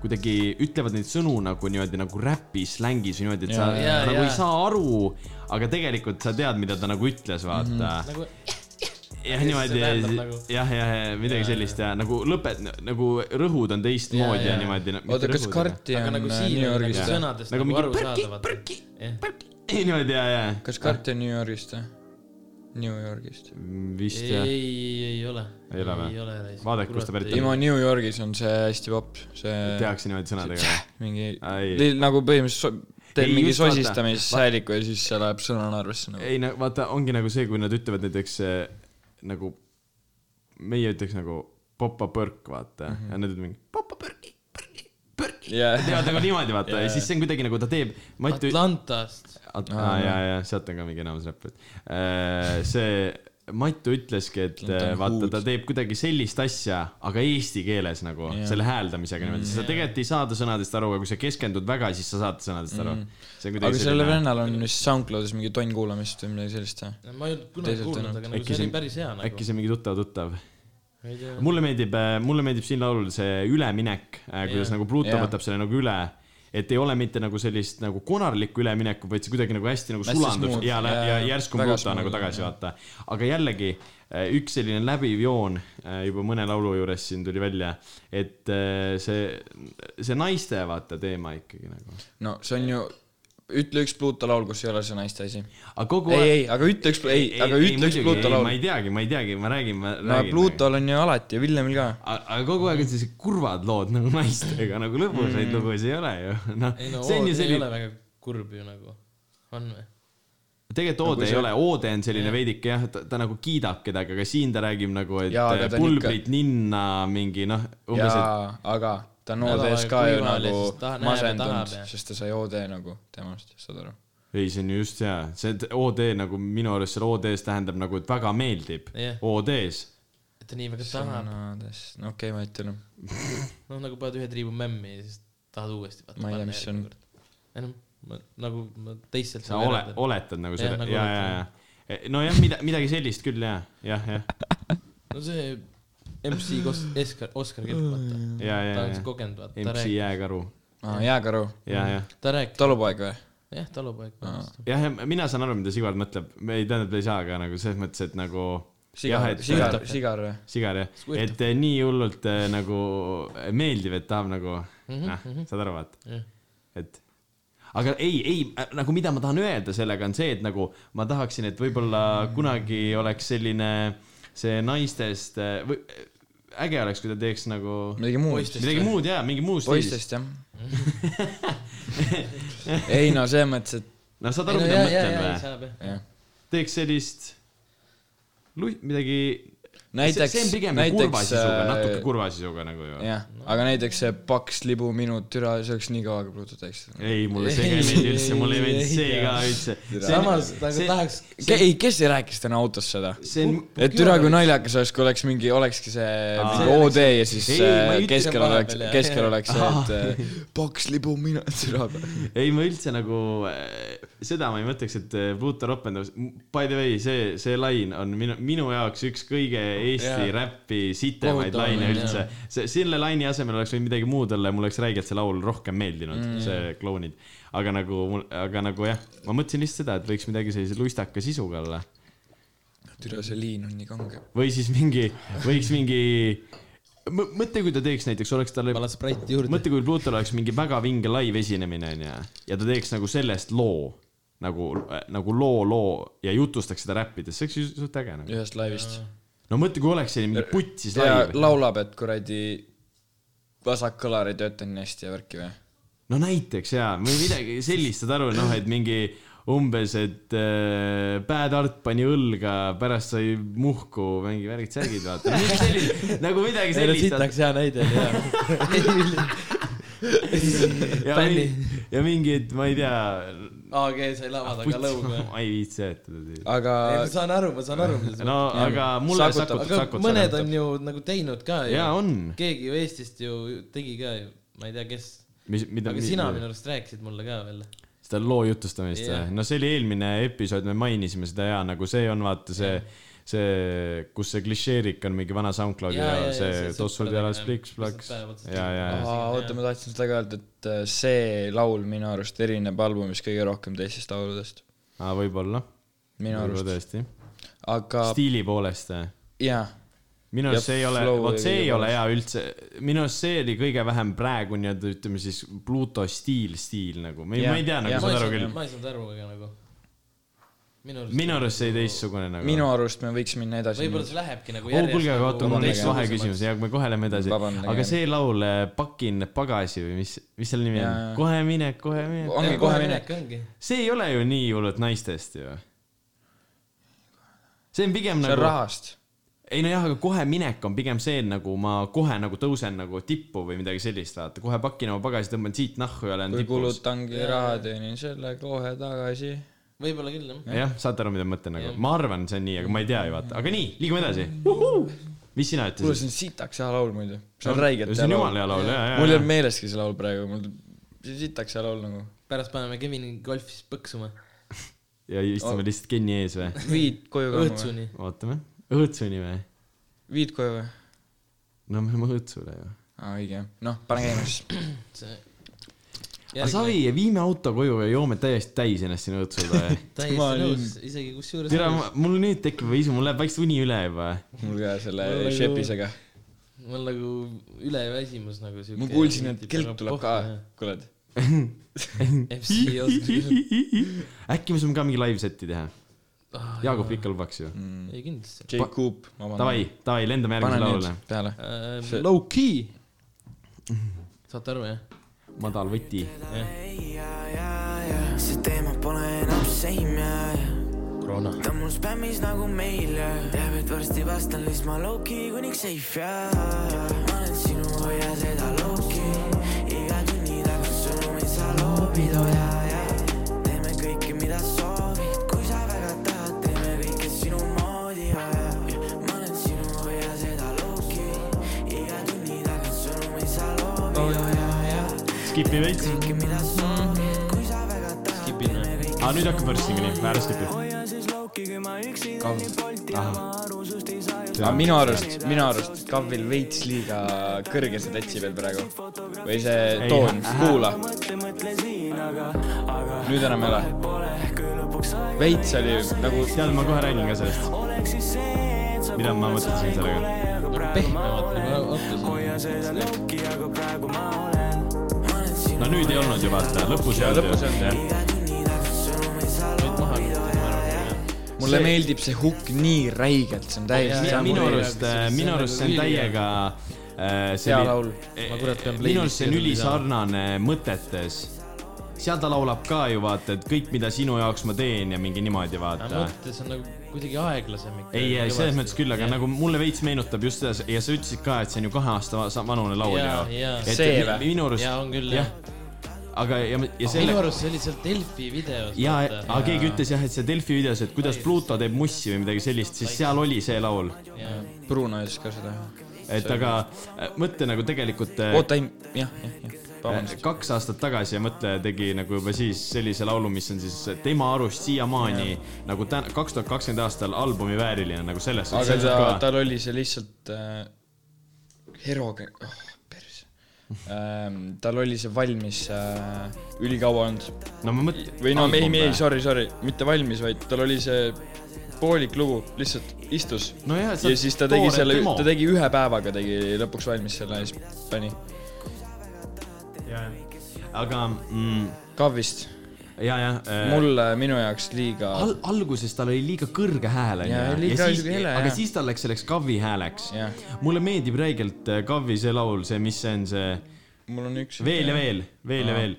B: kuidagi ütlevad neid sõnu nagu niimoodi nagu räpi slängis või niimoodi , et sa
A: Jaa,
B: ja,
C: jaa,
B: nagu ja.
C: jaa.
B: ei saa aru , aga tegelikult sa tead , mida ta nagu ütles , vaata mm .
F: Mhm.
B: -hmm
C: nagu
B: jah ,
C: mis
B: niimoodi
C: see
B: jah
C: tähendab , nagu.
B: jah , jah , midagi ja, sellist ja nagu lõpet- , nagu rõhud on teistmoodi ja,
C: Jaa,
B: ja.
C: jaa.
B: niimoodi .
A: oota , kas karti
C: aga
A: on
C: nagu
A: äh,
C: siin
A: New
C: on nagu
A: Yorgist või ?
C: sõnadest
B: Nagu
C: nagu,
B: mingi
C: nagu
B: põrki,
C: arusaadav .
B: põrki.
C: jah ,
B: niimoodi ja , ja .
A: kas karti on New Yorgist või ? New Yorgist .
B: Mm, vist jah .
C: ei , ei ole .
B: Ei ole või?
C: ei ole raisk .
B: Vaadake, kust ta pärit on.
A: ei , ma New Yorgis on see hästi popp , see
B: tehakse niimoodi sõnadega või ?
A: mingi
B: Ai.
A: Teil nagu põhimõtteliselt so, , teil
B: Ei,
A: mingi
B: just vaata.
A: sosistamishääliku ja siis see läheb sõnana arvesse nagu .
B: ei no vaata , ongi nagu see , kui nad ütlevad näiteks eh, nagu , meie ütleks nagu popapõrk , vaata mm , -hmm. ja nad ütlevad mingi popapõrki , põrki , põrki
A: Jaa.
B: yeah. . teevad nagu niimoodi , vaata yeah. , ja siis see on kuidagi nagu ta teeb , Mati üt- ,
C: Atlantast .
B: aa jaa , jaa , sealt on ka mingi enamus räpparid . see Mattu ütleski , et
A: Ta on
B: vaata
A: huud. ,
B: ta teeb kuidagi sellist asja , aga eesti keeles nagu yeah. selle hääldamisega niimoodi , sa tegelikult ei saa ta sõnadest aru , aga kui sa keskendud väga , siis sa saad sõnadest aru mm. . see on
A: aga
B: kuidagi
A: sellel vennal on vist SoundCloudis mingi tonn kuulamist või midagi sellist või ?
C: ma ei olnud kunagi
A: Teiselt
C: kuulnud ,
A: enam.
C: aga nagu
B: Äkki
C: see
B: see-
C: oli päris hea nagu .
B: äkki see on mingi tuttav-tuttav
C: ei tea.
B: mulle meeldib , mulle meeldib siin laulul see üleminek , kuidas
C: Jah.
B: nagu Pluto
A: Jah.
B: võtab selle nagu üle , et ei ole mitte nagu sellist nagu konarlikku üleminekut , vaid see kuidagi nagu hästi nagu
A: Hästi
B: sulandub
A: smooth.
B: ja, ja,
A: Jaa,
B: ja
A: jaa.
B: järsku on
A: Väga
B: Pluto nagu
A: smooth,
B: tagasi , vaata . aga jällegi äh, üks selline läbiv joon äh, juba mõne laulu juures siin tuli välja , et äh, see , see naiste vaata teema ikkagi nagu .
A: no see on ju , ütle üks Pluto laul , kus ei ole see naiste asi .
B: aga kogu
A: ei , ei , aga ütle üks , ei , aga ütle üks Pluto
B: ma
A: laul .
B: ei teagi , ma ei teagi , ma räägin , ma
A: no
B: räägin .
A: Plutol on ju alati ja Villemil ka .
B: aga aga kogu aeg on sellised kurvad lood nagu naistega , nagu lõbusaid mm. lugusid ei ole ju . noh
C: ei no ,
B: see
C: Ood
B: on
C: ei
B: ju
C: ole
B: selline ,
C: väga kurb ju nagu . on või ?
B: tegelikult Oode
A: Nagu
B: ei
A: see-
B: ole , Oode on selline veidike jah , ta, ta nagu kiidab kedagi , aga siin ta räägib nagu , et
A: Jaa, aga
B: äh,
A: ta on
B: pulbrit ikka... ninna mingi noh , umbes et
A: jaa , aga ta on
C: Nädal
A: OD-s
C: aega
A: ka ju
C: kuival ja siis ta
A: nagu
C: näeb ja tahab
A: masendunud
C: ja- ,
A: sest ta sai OD nagu temast , saad aru ?
B: ei , see on ju just hea , see et OD nagu minu arust seal OD-s tähendab nagu , et väga meeldib
C: Jah.
B: OD-s .
C: et ta nii väga tahab .
A: sõnades , no okei okay, , ma ei ütle ,
C: noh , nagu paned ühe triibu memmi ja siis tahad uuesti .
A: Ma ei tea, mis see on. .
C: ei noh , ma nagu ma teistelt .
B: sa ole , oletad nagu
C: Jah,
B: seda ,
C: nagu
B: ja , ja ,
C: oletan.
B: ja . nojah , E, mida , midagi sellist küll jah , jah , jah ,
C: no see MC Kos- , Oskar , Oskar Kelk , vaata .
B: ja , ja ,
C: ta on siis
B: ja .
C: kogenud , vaata . ta
B: MC
C: rääkis ,
B: Jääkaru ,
A: jääkaru ,
B: ja , ja
C: ta rääkis ,
A: talupoeg või ?
C: jah , talupoeg .
B: jah , mina saan aru , mida Sigar mõtleb , ei tähendab , ei saa , aga nagu selles mõttes , et nagu jah ,
A: sigar ,
B: et sigar,
A: sigar , sigar või ?
B: sigar jah ,
C: Squirtab.
B: et eh, nii hullult eh, nagu meeldib , et tahab nagu mm , -hmm,
C: Mhm,
B: nah, mm -hmm. saad aru , vaata
C: Jah. ,
B: et aga ei , ei äh, nagu mida ma tahan öelda sellega on see , et nagu ma tahaksin , et võib-olla kunagi oleks selline see naistest eh, või äge oleks , kui ta teeks nagu
A: midagi muud .
C: Poistest
B: midagi
C: või?
B: muud ja mingi muu stiilis .
A: poistest jah . ei no selles mõttes , et
B: no
C: ei
B: saad aru ,
C: no
B: mida
C: jaa ,
B: ma
C: jaa ,
B: mõtlen
C: jaa ,
B: või ?
C: saab jah .
A: jah .
B: teeks sellist , midagi
A: näiteks ,
B: see, see on pigem näiteks, kurva
A: näiteks äh,
B: sisuga , natuke kurva sisuga nagu ju .
A: jah , aga näiteks see paks libu minu türa , see oleks nii kaua , kui Pluto teeks .
B: ei , mulle see ka ei meeldi üldse , mulle ei meeldi see ka üldse .
C: samas , nagu
B: see-
C: tahaks .
A: ei , kes ei rääkis täna autos seda ?
B: see on ,
A: et türa , kui naljakas oleks , kui oleks mingi , olekski see mingi
B: see
A: OD ja siis
B: Ei,
A: äh,
B: ma ei ütle
A: keskel
C: vahepeal,
A: oleks
C: jah. ,
A: keskel oleks see , et äh, paks libu minu türa .
B: ei ma üldse nagu äh, seda ma ei mõtleks , et äh, Pluto ropendab , by the way , see , see lain on minu , minu jaoks üks kõige Eesti
C: Jaa.
B: räppi sitemaid
C: Kohutav
B: laine
C: lain,
B: üldse . see , selle laini asemel oleks võinud midagi muud olla ja mulle oleks räigelt see laul rohkem meeldinud mm, , see klounid . aga nagu , aga nagu jah , ma mõtlesin lihtsalt seda , et võiks midagi sellise lustaka sisuga olla
A: türa , see liin on nii kange .
B: või siis mingi , võiks mingi , mõtle , kui ta teeks näiteks , oleks talle ,
C: pane spraiti juurde .
B: mõtle , kui Pluutol oleks mingi väga vinge live esinemine onju ja ta teeks nagu sellest loo nagu , nagu loo , loo ja jutustaks seda räppides , see oleks ju suht äge nagu .
A: ühest laivist .
B: no mõtle , kui oleks selline mingi putsis
A: ja
B: laiv .
A: laulab , et kuradi vasak kõlar ei tööta nii hästi ja värki või ?
B: no näiteks jaa , või midagi sellist , saad aru , noh , et mingi umbes , et äh, Bad Art pani õlga , pärast sai muhku , mingi värgid särgid , vaata . mingi selline , nagu midagi
C: ei no siit
B: sellist .
C: läks hea näide , jah .
B: ja
C: Fänni.
B: mingi , ja mingid , ma ei tea .
C: AG sai lava taga lõuga . Ah,
B: ma ei viitsi seletada .
A: aga
C: ma saan aru , ma saan aru , mida sa
B: no
A: jah.
B: aga mulle
A: Sakutab.
B: sakutab ,
C: aga
B: sakutab .
C: mõned on ju nagu teinud ka ju
B: jaa , on .
C: keegi ju Eestist ju tegi ka ju , ma ei tea , kes ,
B: mis , mida .
C: aga sina minu arust rääkisid mulle ka veel .
B: seda loo jutustamist
C: Jah.
B: yeah. , no see oli eelmine episood , me mainisime seda ja nagu see on vaata see yeah. , see , kus see klišeerik on mingi vana SoundCloudi ja, ja, ja see tossud jalas pliks-plaks . ja , ja , ja .
A: Aa, oota , ma tahtsin seda ka öelda , et äh, see laul minu arust erineb albumis kõige rohkem teistest lauludest .
B: aa , võib-olla .
A: minu
B: võib-olla
A: arust ,
B: tõesti .
A: aga
B: stiili poolest jah.
A: jaa ,
B: minu
A: Ja
B: arust see ei ole ,
A: flow
B: vot
A: ja
B: see ei
A: kõige
B: ole hea üldse , minu arust see oli kõige vähem praegu nii-öelda ütleme siis Pluto stiil , stiil nagu , ma ei ,
A: Jah,
B: ma ei tea
A: jah.
B: nagu ,
C: ma
B: saad
C: ei
B: aru
C: saanud ,
B: küll .
C: ma ei saanud aru ka nagu . minu
B: minu arust see teistsugune nagu .
A: minu arust me võiks minna edasi .
C: võib-olla see lähebki nagu
B: oo , kuulge , aga oota , mul on üks
A: vabandage.
B: vaheküsimus , ja me kohe läheme edasi .
A: Vabandage.
B: aga see laul äh, Pakin pagasi või mis , mis selle nimi on
A: Jaa. ?
B: kohe minek , kohe minek .
A: ongi kohe minek ..
B: see ei ole ju nii hullult naistest ju . see on pigem
A: see on
B: nagu ,
A: rahast .
B: ei nojah , aga kohe minek on pigem see , et nagu ma kohe nagu tõusen nagu tippu või midagi sellist , vaata , kohe pakin oma pagasi , tõmban siit nahku ja olen
A: kui
B: tipus .
A: kulutangi raha , teenin selle kohe tagasi .
C: võib-olla küll jah .
B: jah , saate aru , mida ma mõtlen nagu , ma arvan , see on nii , aga ma ei tea ju vaata , aga nii , liigume edasi . mis sina
A: kuule ,
B: ütlesid ?
A: see on sitaks hea laul muidu . see on räigelt
B: see
A: hea
B: on jumala hea
A: laul .
B: laul , jaa , jaa .
A: mul ei olnud meeleski see laul praegu , mul , see on sitaks hea laul nagu .
C: pärast paneme Kevini golfis põksuma
B: ja istume lihtsalt kinni ees või ?
A: viid koju ka või ?
C: õõtsuni .
B: ootame , õõtsuni või ?
A: viid koju või ?
B: no me oleme õõtsule ju .
A: aa , õige . noh , pane käima siis .
B: aga savi , viime auto koju ja joome täiesti täis ennast sinna õõtsule või ?
A: Ma
C: täiesti
A: olin-
C: nõus , isegi kusjuures .
B: tere , mul nüüd tekib või mul läheb vaikselt uni üle juba .
A: mul ka selle
C: Mul nagu-
A: šepisega .
C: mul nagu üleväsimus nagu siuke . nagu,
A: ma kuulsin , et kelk tuleb ka . kuuled ?
C: MC ei oska küll .
B: äkki me saame ka mingi live seti teha ? Jaagup ikka lubaks ju .
C: Ah, ei kindlasti .
A: J Coop , ma
B: Davai , davai , lendame järgmise
A: panen nüüd
B: laulule .
A: peale .
E: Äh.
A: See-
C: Low key . Ehm, saate aru jah ?
B: madal võti .
E: see teema pole enam same ja , ja ta on mul spämmis nagu meil ja teab , et varsti vastan lihtsalt ma Loki kuniks seif ja ma olen sinu hoia seda Loki iga tunni tagant sõnumeid sa loobid hoia ja teeme kõike , mida soovid , kui sa väga tahad , teeme kõike sinu moodi hoia ja ma olen sinu hoia seda Loki iga tunni tagant sõnumeid sa loobid hoia ja
B: Skipi veits .
E: kõike , mida soovid , kui sa väga tahad .
C: skipin või ?
B: aa , nüüd hakkab värssing nii , ära skipi .
E: hoian siis lauki , kui ma üksi teen polti ja ma aru sust ei saa ju .
A: aga minu arust , minu arust Kavvil veits liiga kõrge see detsibell praegu . või see
B: Ei,
A: toon ,
B: hä-
A: kuula ,
E: mõtle , mõtle siin , aga , aga
A: nüüd enam ei ole .
E: pole küll lõpuks aeg ,
A: veits oli nagu ,
B: tead , ma kohe räägin ka sellest ,
E: oleks siis see , et sa
B: mida ma mõtlesin sellega .
C: pehmemat nagu hakkasin .
E: hoia seda lauki , aga praegu ma olen . ma olen sinu
B: no nüüd ei olnud ju vaata , lõpus ei olnud ju .
E: iga tunni tagant , sõnumeid sa loobid hoia .
A: mulle meeldib see hukk nii räigelt , see on täiesti
B: Ja
A: sama
B: minu
A: mul-
B: arust , minu arust see on täiega äh, see
A: hea
B: oli-
A: laul.
C: Ma kurat pean
B: minu arust see
C: playlist'i
B: on
C: juurde
B: ülisarnane mõtetes . seal ta laulab ka ju vaata , et kõik , mida sinu jaoks ma teen ja mingi niimoodi
C: aga
B: vaata .
C: mõttes on nagu kuidagi aeglasem ikka .
B: ei , ei selles mõttes küll , aga . nagu mulle veits meenutab just seda ja sa ütlesid ka , et see on ju kahe aasta va- sa- vanune laul
C: Jaa,
B: ju
C: jaa. .
A: See või?
B: minu arust
C: jaa , on küll
B: jah
C: jah ..
B: aga ja , ja
C: minu
B: selle
C: arust see oli seal Delfi videos .
B: ja , aga keegi ütles jah , et see Delfi videos , et kuidas Pluto teeb mussi või midagi sellist , siis seal oli see laul ,
A: Bruno ütles ka seda .
B: et aga äh, mõtle nagu tegelikult .
A: oota , ei , jah , jah , jah , vabandust .
B: kaks aastat tagasi ja mõtleja tegi nagu juba siis sellise laulu , mis on siis tema arust siiamaani nagu täna , kaks tuhat kakskümmend aastal albumi vääriline nagu selles
A: aga
B: suhtes
A: ta ,
B: ka .
A: tal oli see lihtsalt äh, heroge- , oh pers- ähm, . tal oli see valmis äh, ülikaua olnud
B: no ma äh, mõtlen .
A: või no ei , ei ,. sorry , sorry , mitte valmis , vaid tal oli see poolik lugu , lihtsalt istus .
B: nojah ,
A: ja siis ta tegi selle , ta . tegi ühe päevaga tegi lõpuks valmis selle ja siis pani
B: aga mm,
A: KAV-ist .
B: ja , ja äh,
A: mulle , minu jaoks liiga
B: al- , alguses tal oli liiga kõrge hääl ,
A: Jaa,
B: onju .
A: liiga sihuke hele,
B: aga
A: jah.
B: siis tal läks selleks Kavi hääleks
A: Jah. .
B: mulle meeldib räigelt äh, Kavi see laul , see , mis see on , see
A: mul on üks
B: Veel ja veel , veel ja veel .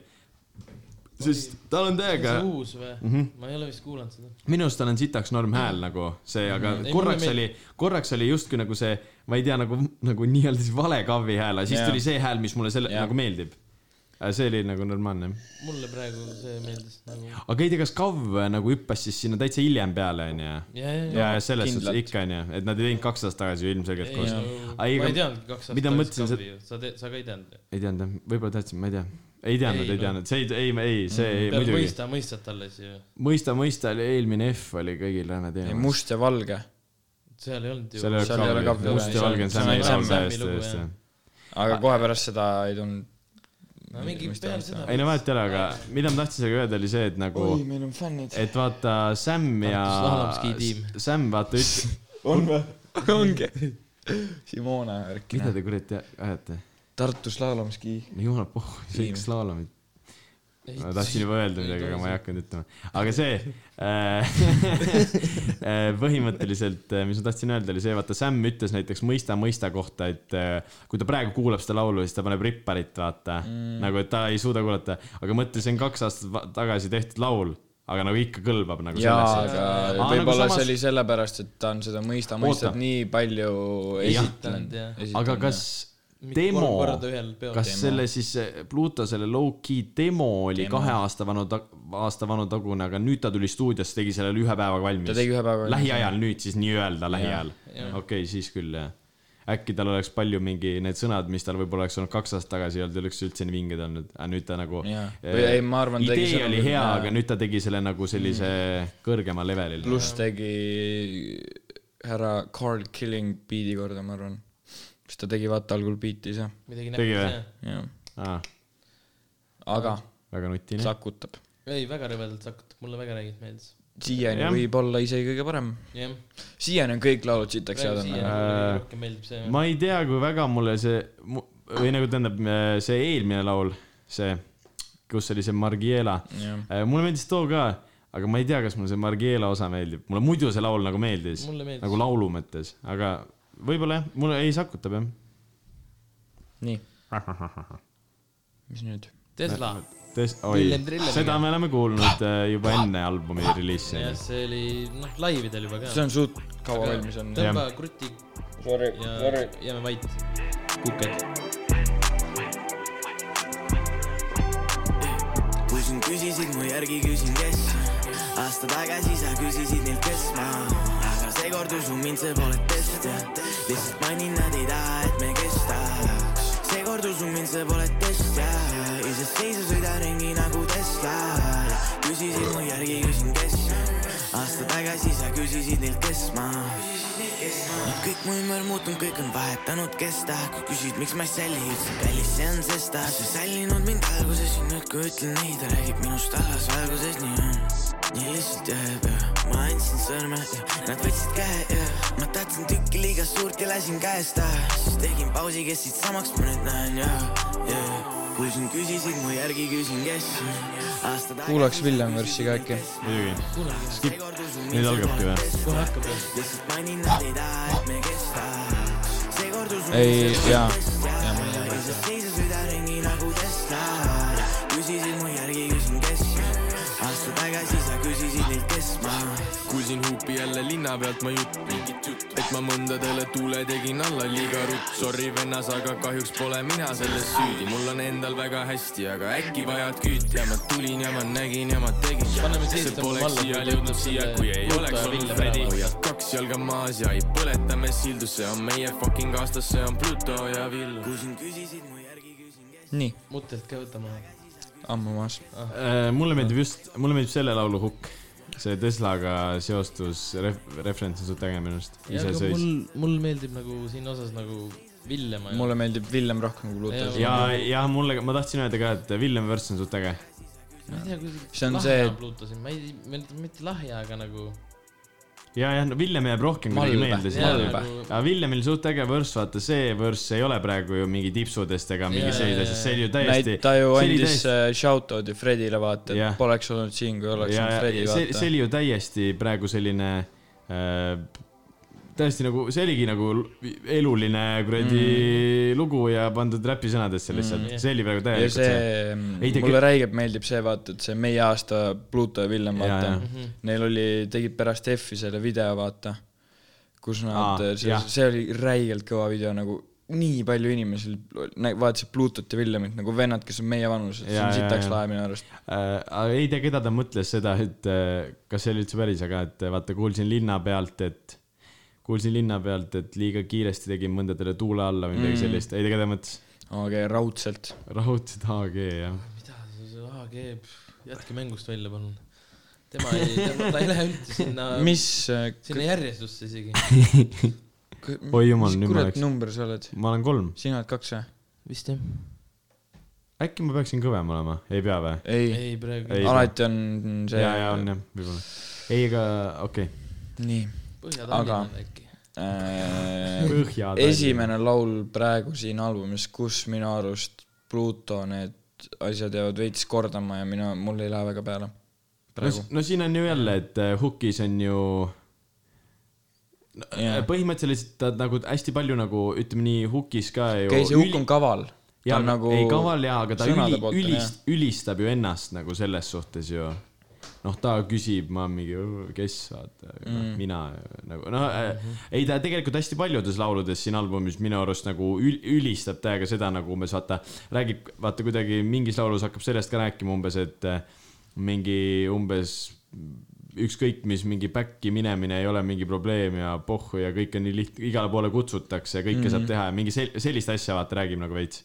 B: sest tal on täiega ,
C: uus või ?
B: Mhm.
C: ma ei ole vist kuulanud seda .
B: minu arust tal on sitaks norm hääl nagu see , aga
C: Ei,
B: korraks
C: mulle
B: oli , korraks oli justkui nagu see , ma ei tea , nagu , nagu nii-öelda siis vale Kavi hääl , aga siis
A: Jaa.
B: tuli see hääl , mis mulle selle
A: Jah.
B: nagu meeldib . see oli nagu normaalne
C: mulle praegu see meeldis nagu .
B: aga ei tea , kas KAV nagu hüppas siis sinna täitsa hiljem peale , onju .
C: ja , ja ,
B: ja , ja selles suhtes
A: kindlalt.
B: ikka onju , et nad ei teinud kaks aastat tagasi ju
C: ei ,
B: ilmselgelt koos .
C: ma ei teadnudki kaks aastat
B: mida ma mõtlesin,
C: tagasi Kavi , sa tead , sa ka ei teadnud .
B: ei teadnud jah , võib-olla teadsin , ma ei tea . ei teadnud ,
C: Ei,
B: ei
C: no.
B: teadnud , see ei , ei , ei , see ei,
C: peale
B: muidugi .
C: mõista , mõistad talle siis ju .
B: mõista , mõista oli eelmine F oli kõigil lääne
A: ei,
B: teema .
A: must ja valge ,
C: seal ei olnud ju
B: seal . ei
A: seal ei ole
B: ole
A: KAV-i
B: KAV-i , must
A: üle,
B: ja valge on
A: see on
B: Sämmi
A: ainult
B: laul
A: Sämmi
B: täiesti ,
C: lugu,
B: täiesti
C: jah. .
A: aga kohe pärast seda ei tulnud .
C: no mingi peale seda .
B: ei no vahet ei ole , aga mida ma tahtsin sellega öelda , oli see , et nagu ,
A: meil on fännid .
B: et vaata Sam ja
C: Tartus Lahlamski tiim. ,
B: Sam vaata üt- ,
A: on või ? ongi . Simona värk .
B: mida te kuradi ajate ?
A: Tartus Laalamski .
B: no jumal pohhu , see üks laul on
C: Ei,
B: ma tahtsin juba öelda midagi , aga ma ei hakanud ütlema . aga see äh, , põhimõtteliselt , mis ma tahtsin öelda , oli see , vaata Sam ütles näiteks mõista mõista kohta , et äh, kui ta praegu kuulab seda laulu , siis ta paneb ripparit , vaata mm. . nagu , et ta ei suuda kuulata , aga mõtle , see on kaks aastat va- tagasi tehtud laul , aga nagu ikka kõlbab nagu
A: jaa ,
B: sellesse .
A: aga
B: nagu
A: võib-olla
B: samas-
A: see oli sellepärast , et ta on seda mõista mõistet
B: Oota.
A: nii palju esitanud
C: Jah. .
B: aga kas demo ,
C: kolm korda ühel peol .
B: kas selle siis eh, Pluto selle low-key demo oli demo. kahe aasta vanu , aasta vanu tagune , aga nüüd ta tuli stuudiosse , tegi selle ühe päevaga valmis .
A: Ta tegi ühe päevaga valmis,
B: lähiajal nüüd siis nii-öelda lähiajal . okei okay, , siis küll jah . äkki tal oleks palju mingi need sõnad , mis tal võib-olla oleks olnud kaks aastat tagasi , ei olnud oleks üldse nii vinged olnud , aga nüüd ta nagu .
A: Jah. Või ei, ma arvan, tegi
B: idee
A: sõnumi-
B: oli hea ,
A: jaa.
B: aga nüüd ta tegi selle nagu sellise mm. kõrgema levelil .
A: pluss tegi härra Carl Killing beat'i korda , ma arvan . sest ta tegi vaata algul beat'i ise ,
C: midagi
B: Tegi või?
C: näppi .
A: jah .
B: Ah,
A: aga
B: väga nutine .
A: sakutab .
C: ei , väga rõvedalt hakkab , mulle väga räägid meeldis .
A: siiani
B: Jah.
A: võib olla isegi kõige parem .
C: jah ,
A: siiani on kõik laulud sitaks head
C: praegu siia
A: olnud .
B: Äh,
C: rohkem meeldib see .
B: ma ei tea , kui väga mulle see , või nagu tähendab see eelmine laul , see , kus oli see Margiela ,
A: jah ,
B: mulle meeldis too ka , aga ma ei tea , kas mulle see Margiela osa meeldib , mulle muidu see laul nagu meeldis ,
C: Mulle meeldis.
B: nagu laulu mõttes , aga võib-olla jah , mulle ei sakutab jah .
A: nii . mis nüüd ?
C: Tesla ,
B: Test, oi
C: Trillem, , trillem.
B: seda me oleme kuulnud äh, juba enne albumi reliisi .
C: jah , see oli , noh , laividel juba
A: see
C: ka .
A: on suht kaua valmis olnud .
C: tõmba kruti
A: Sorry ,
C: ja jääme vait . kuked .
E: kui sind küsisid mu järgi , küsin kes . aasta tagasi sa küsisid neilt , kes ma , aga seekord usu mind , see pole test . lihtsalt mainin , nad ei taha , et me kestaks . seekord usu mind , see pole test ja iseseisu sõidan ringi nagu Tesla . küsisid mu järgi , küsin kes . aasta tagasi sa küsisid neilt , kes ma . nüüd kõik mu ümber muutunud , kõik on vahetanud kesta . kui küsid , miks ma ei salli üldse , kallis see on , sest ta on sallinud mind alguses ja nüüd , kui ütlen ei , ta räägib minust halvas valguses , nii on . nii lihtsalt jääb ja ma andsin sõrme ja nad võtsid käe ja ma tahtsin tükki liiga suurt ja lasin käest ära . siis tegin pausi , kes siit samaks ma nüüd näen ja , ja kui siin küsisid mu järgi , küsin kes .
A: Kuulaks William versi ka äkki. .
B: muidugi , skip , nüüd algabki või ?
C: kohe hakkab ju .
E: lihtsalt mainin , nad ei taha , et me kestaks . seekord usun .
A: ei , jaa .
E: seisus südaringi nagu Tesla küsisid mu järgi , küsin kes aasta tagasi sa küsisid neilt , kes ma
G: kuulsin huupi jälle linna pealt ma juttu , et ma mõndadele tuule tegin alla liiga ruttu . Sorry vennas , aga kahjuks pole mina selles süüdi , mul on endal väga hästi , aga äkki vajad küüti ja ma tulin ja ma nägin ja ma tegin .
C: Paneme siis
G: see
C: tõmbame
G: poleks
C: alla,
G: siia
C: kui tõmbame selle ,
G: jõudnud siia kui ei
C: Pluto
G: oleks
C: ja
G: olnud
C: Villa
G: Fredi
C: päeva. .
G: hoiad kaks jalga maas ja ei põleta me sildu , see on meie fucking aastas , see on Pluto ja Vill .
E: kui sind küsisid mu järgi , küsin kes
A: nii ,
C: mutelt ka võtame .
A: ammu maas .
B: Äh, mulle meeldib just , mulle meeldib selle laulu hukk . see Teslaga seostus ref, , referents on suht äge minu arust . ise
C: mul
B: sõis .,
C: mul meeldib nagu siin osas nagu Villema .
A: mulle meeldib Villem rohkem kui Lutas .
B: ja , ja mulle , ma tahtsin öelda ka , et Villem Vörss on suht äge .
C: ma ei tea , kui
A: See on
C: lahja
A: see-
C: Pluto siin , ma ei , mitte lahja , aga nagu
B: ja , ja no Villem jääb rohkem kuidagi
A: Malbe.
B: meelde
A: Malbe.
B: aga Villemil suht äge võrss , vaata see võrss ei ole praegu ju mingi tipsudest ega mingi
C: Jaa,
B: selline
C: jaa,
B: asi , see oli ju täiesti
A: näit- , ta ju
B: see oli
A: andis
B: täiesti-
A: äh, shout-out'i Fredile , vaata , et
B: Jah.
A: poleks olnud siin , kui oleks
B: ja ,
A: olnud
B: ja
A: Fredi ,
B: see , see
A: vaata .
B: oli ju täiesti praegu selline äh, , täiesti nagu , see oligi nagu l- eluline kuradi mm. lugu ja pandud räpisõnadesse lihtsalt mm, , see oli praegu
A: ja
B: täielikult see,
A: see ,
B: Ei, ta
A: mulle räigelt meeldib see , vaata , et see meie aasta Pluto ja Villem ,
B: Jaa,
A: vaata
B: jaa. .
A: Neil oli , tegid pärast F-i selle video , vaata , kus nad äh,
B: Aa, ,
A: see
B: jah. ,
A: see oli räigelt kõva video nagu nii palju inimesi nä- vaatasid Plutot ja Villemit nagu vennad , kes on meie vanused , see
B: Jaa,
A: on
B: jaa,
A: sitaks
B: jaa.
A: lahe minu arust .
B: äh, . aga ei tea , keda ta mõtles seda , et äh, kas see oli üldse päris , aga et äh, vaata , kuulsin linna pealt , et kuulsin linna pealt , et liiga kiiresti tegin mõndadele tuule alla või midagi mm. sellist , ei tea , keda mõtles ,
A: okei , raudselt .
B: raudselt AG jah .
C: mida see AG , jätke mängust välja , palun . tema ei , tema , ta ei lähe üldse sinna ,
A: mis , äh,
C: sinna järjestusse isegi .
B: oi jumal ,
A: mis
B: nüüd ma
A: kurat
B: läks ,
A: number sa oled ?
B: ma olen kolm ,
A: sina oled kaks või ?
C: vist jah ?
B: äkki ma peaksin kõvem olema , ei pea või ?
A: ei
C: ei , praegu
B: Ei.
C: ei.
A: alati on see .
B: ja , ja on jah , võib-olla . ei , aga okei
A: nii
C: Põhja-Tallinnal
A: Aga-
C: äkki .
A: äh, .
B: okay. .
A: esimene laul praegu siin albumis , kus minu arust Pluto need asjad jäävad veits kordama ja mina , mul ei lähe väga peale . praegu
B: no, . no siin on ju jälle , et äh, Hukis on ju no,
A: Jaa.
B: põhimõtteliselt ta nagu hästi palju nagu ütleme nii , Hukis ka ju .
A: okei , see hukk on kaval .
B: ja, nagu . ei , kaval jaa , aga ta üli, ülist, ülistab ju ennast nagu selles suhtes ju . noh , ta küsib , ma mingi , kes vaata mm. , mina nagu noh äh, mm , -hmm. ei ta tegelikult hästi paljudes lauludes siin albumis minu arust nagu ül, ülistab täiega seda nagu umbes vaata , räägib , vaata kuidagi mingis laulus hakkab sellest ka rääkima umbes , et äh, mingi umbes ükskõik mis mingi back'i minemine ei ole mingi probleem ja pohhu ja kõike nii liht- , igale poole kutsutakse ja kõike mm -hmm. saab teha ja mingi sel- , sellist asja vaata räägib nagu veits .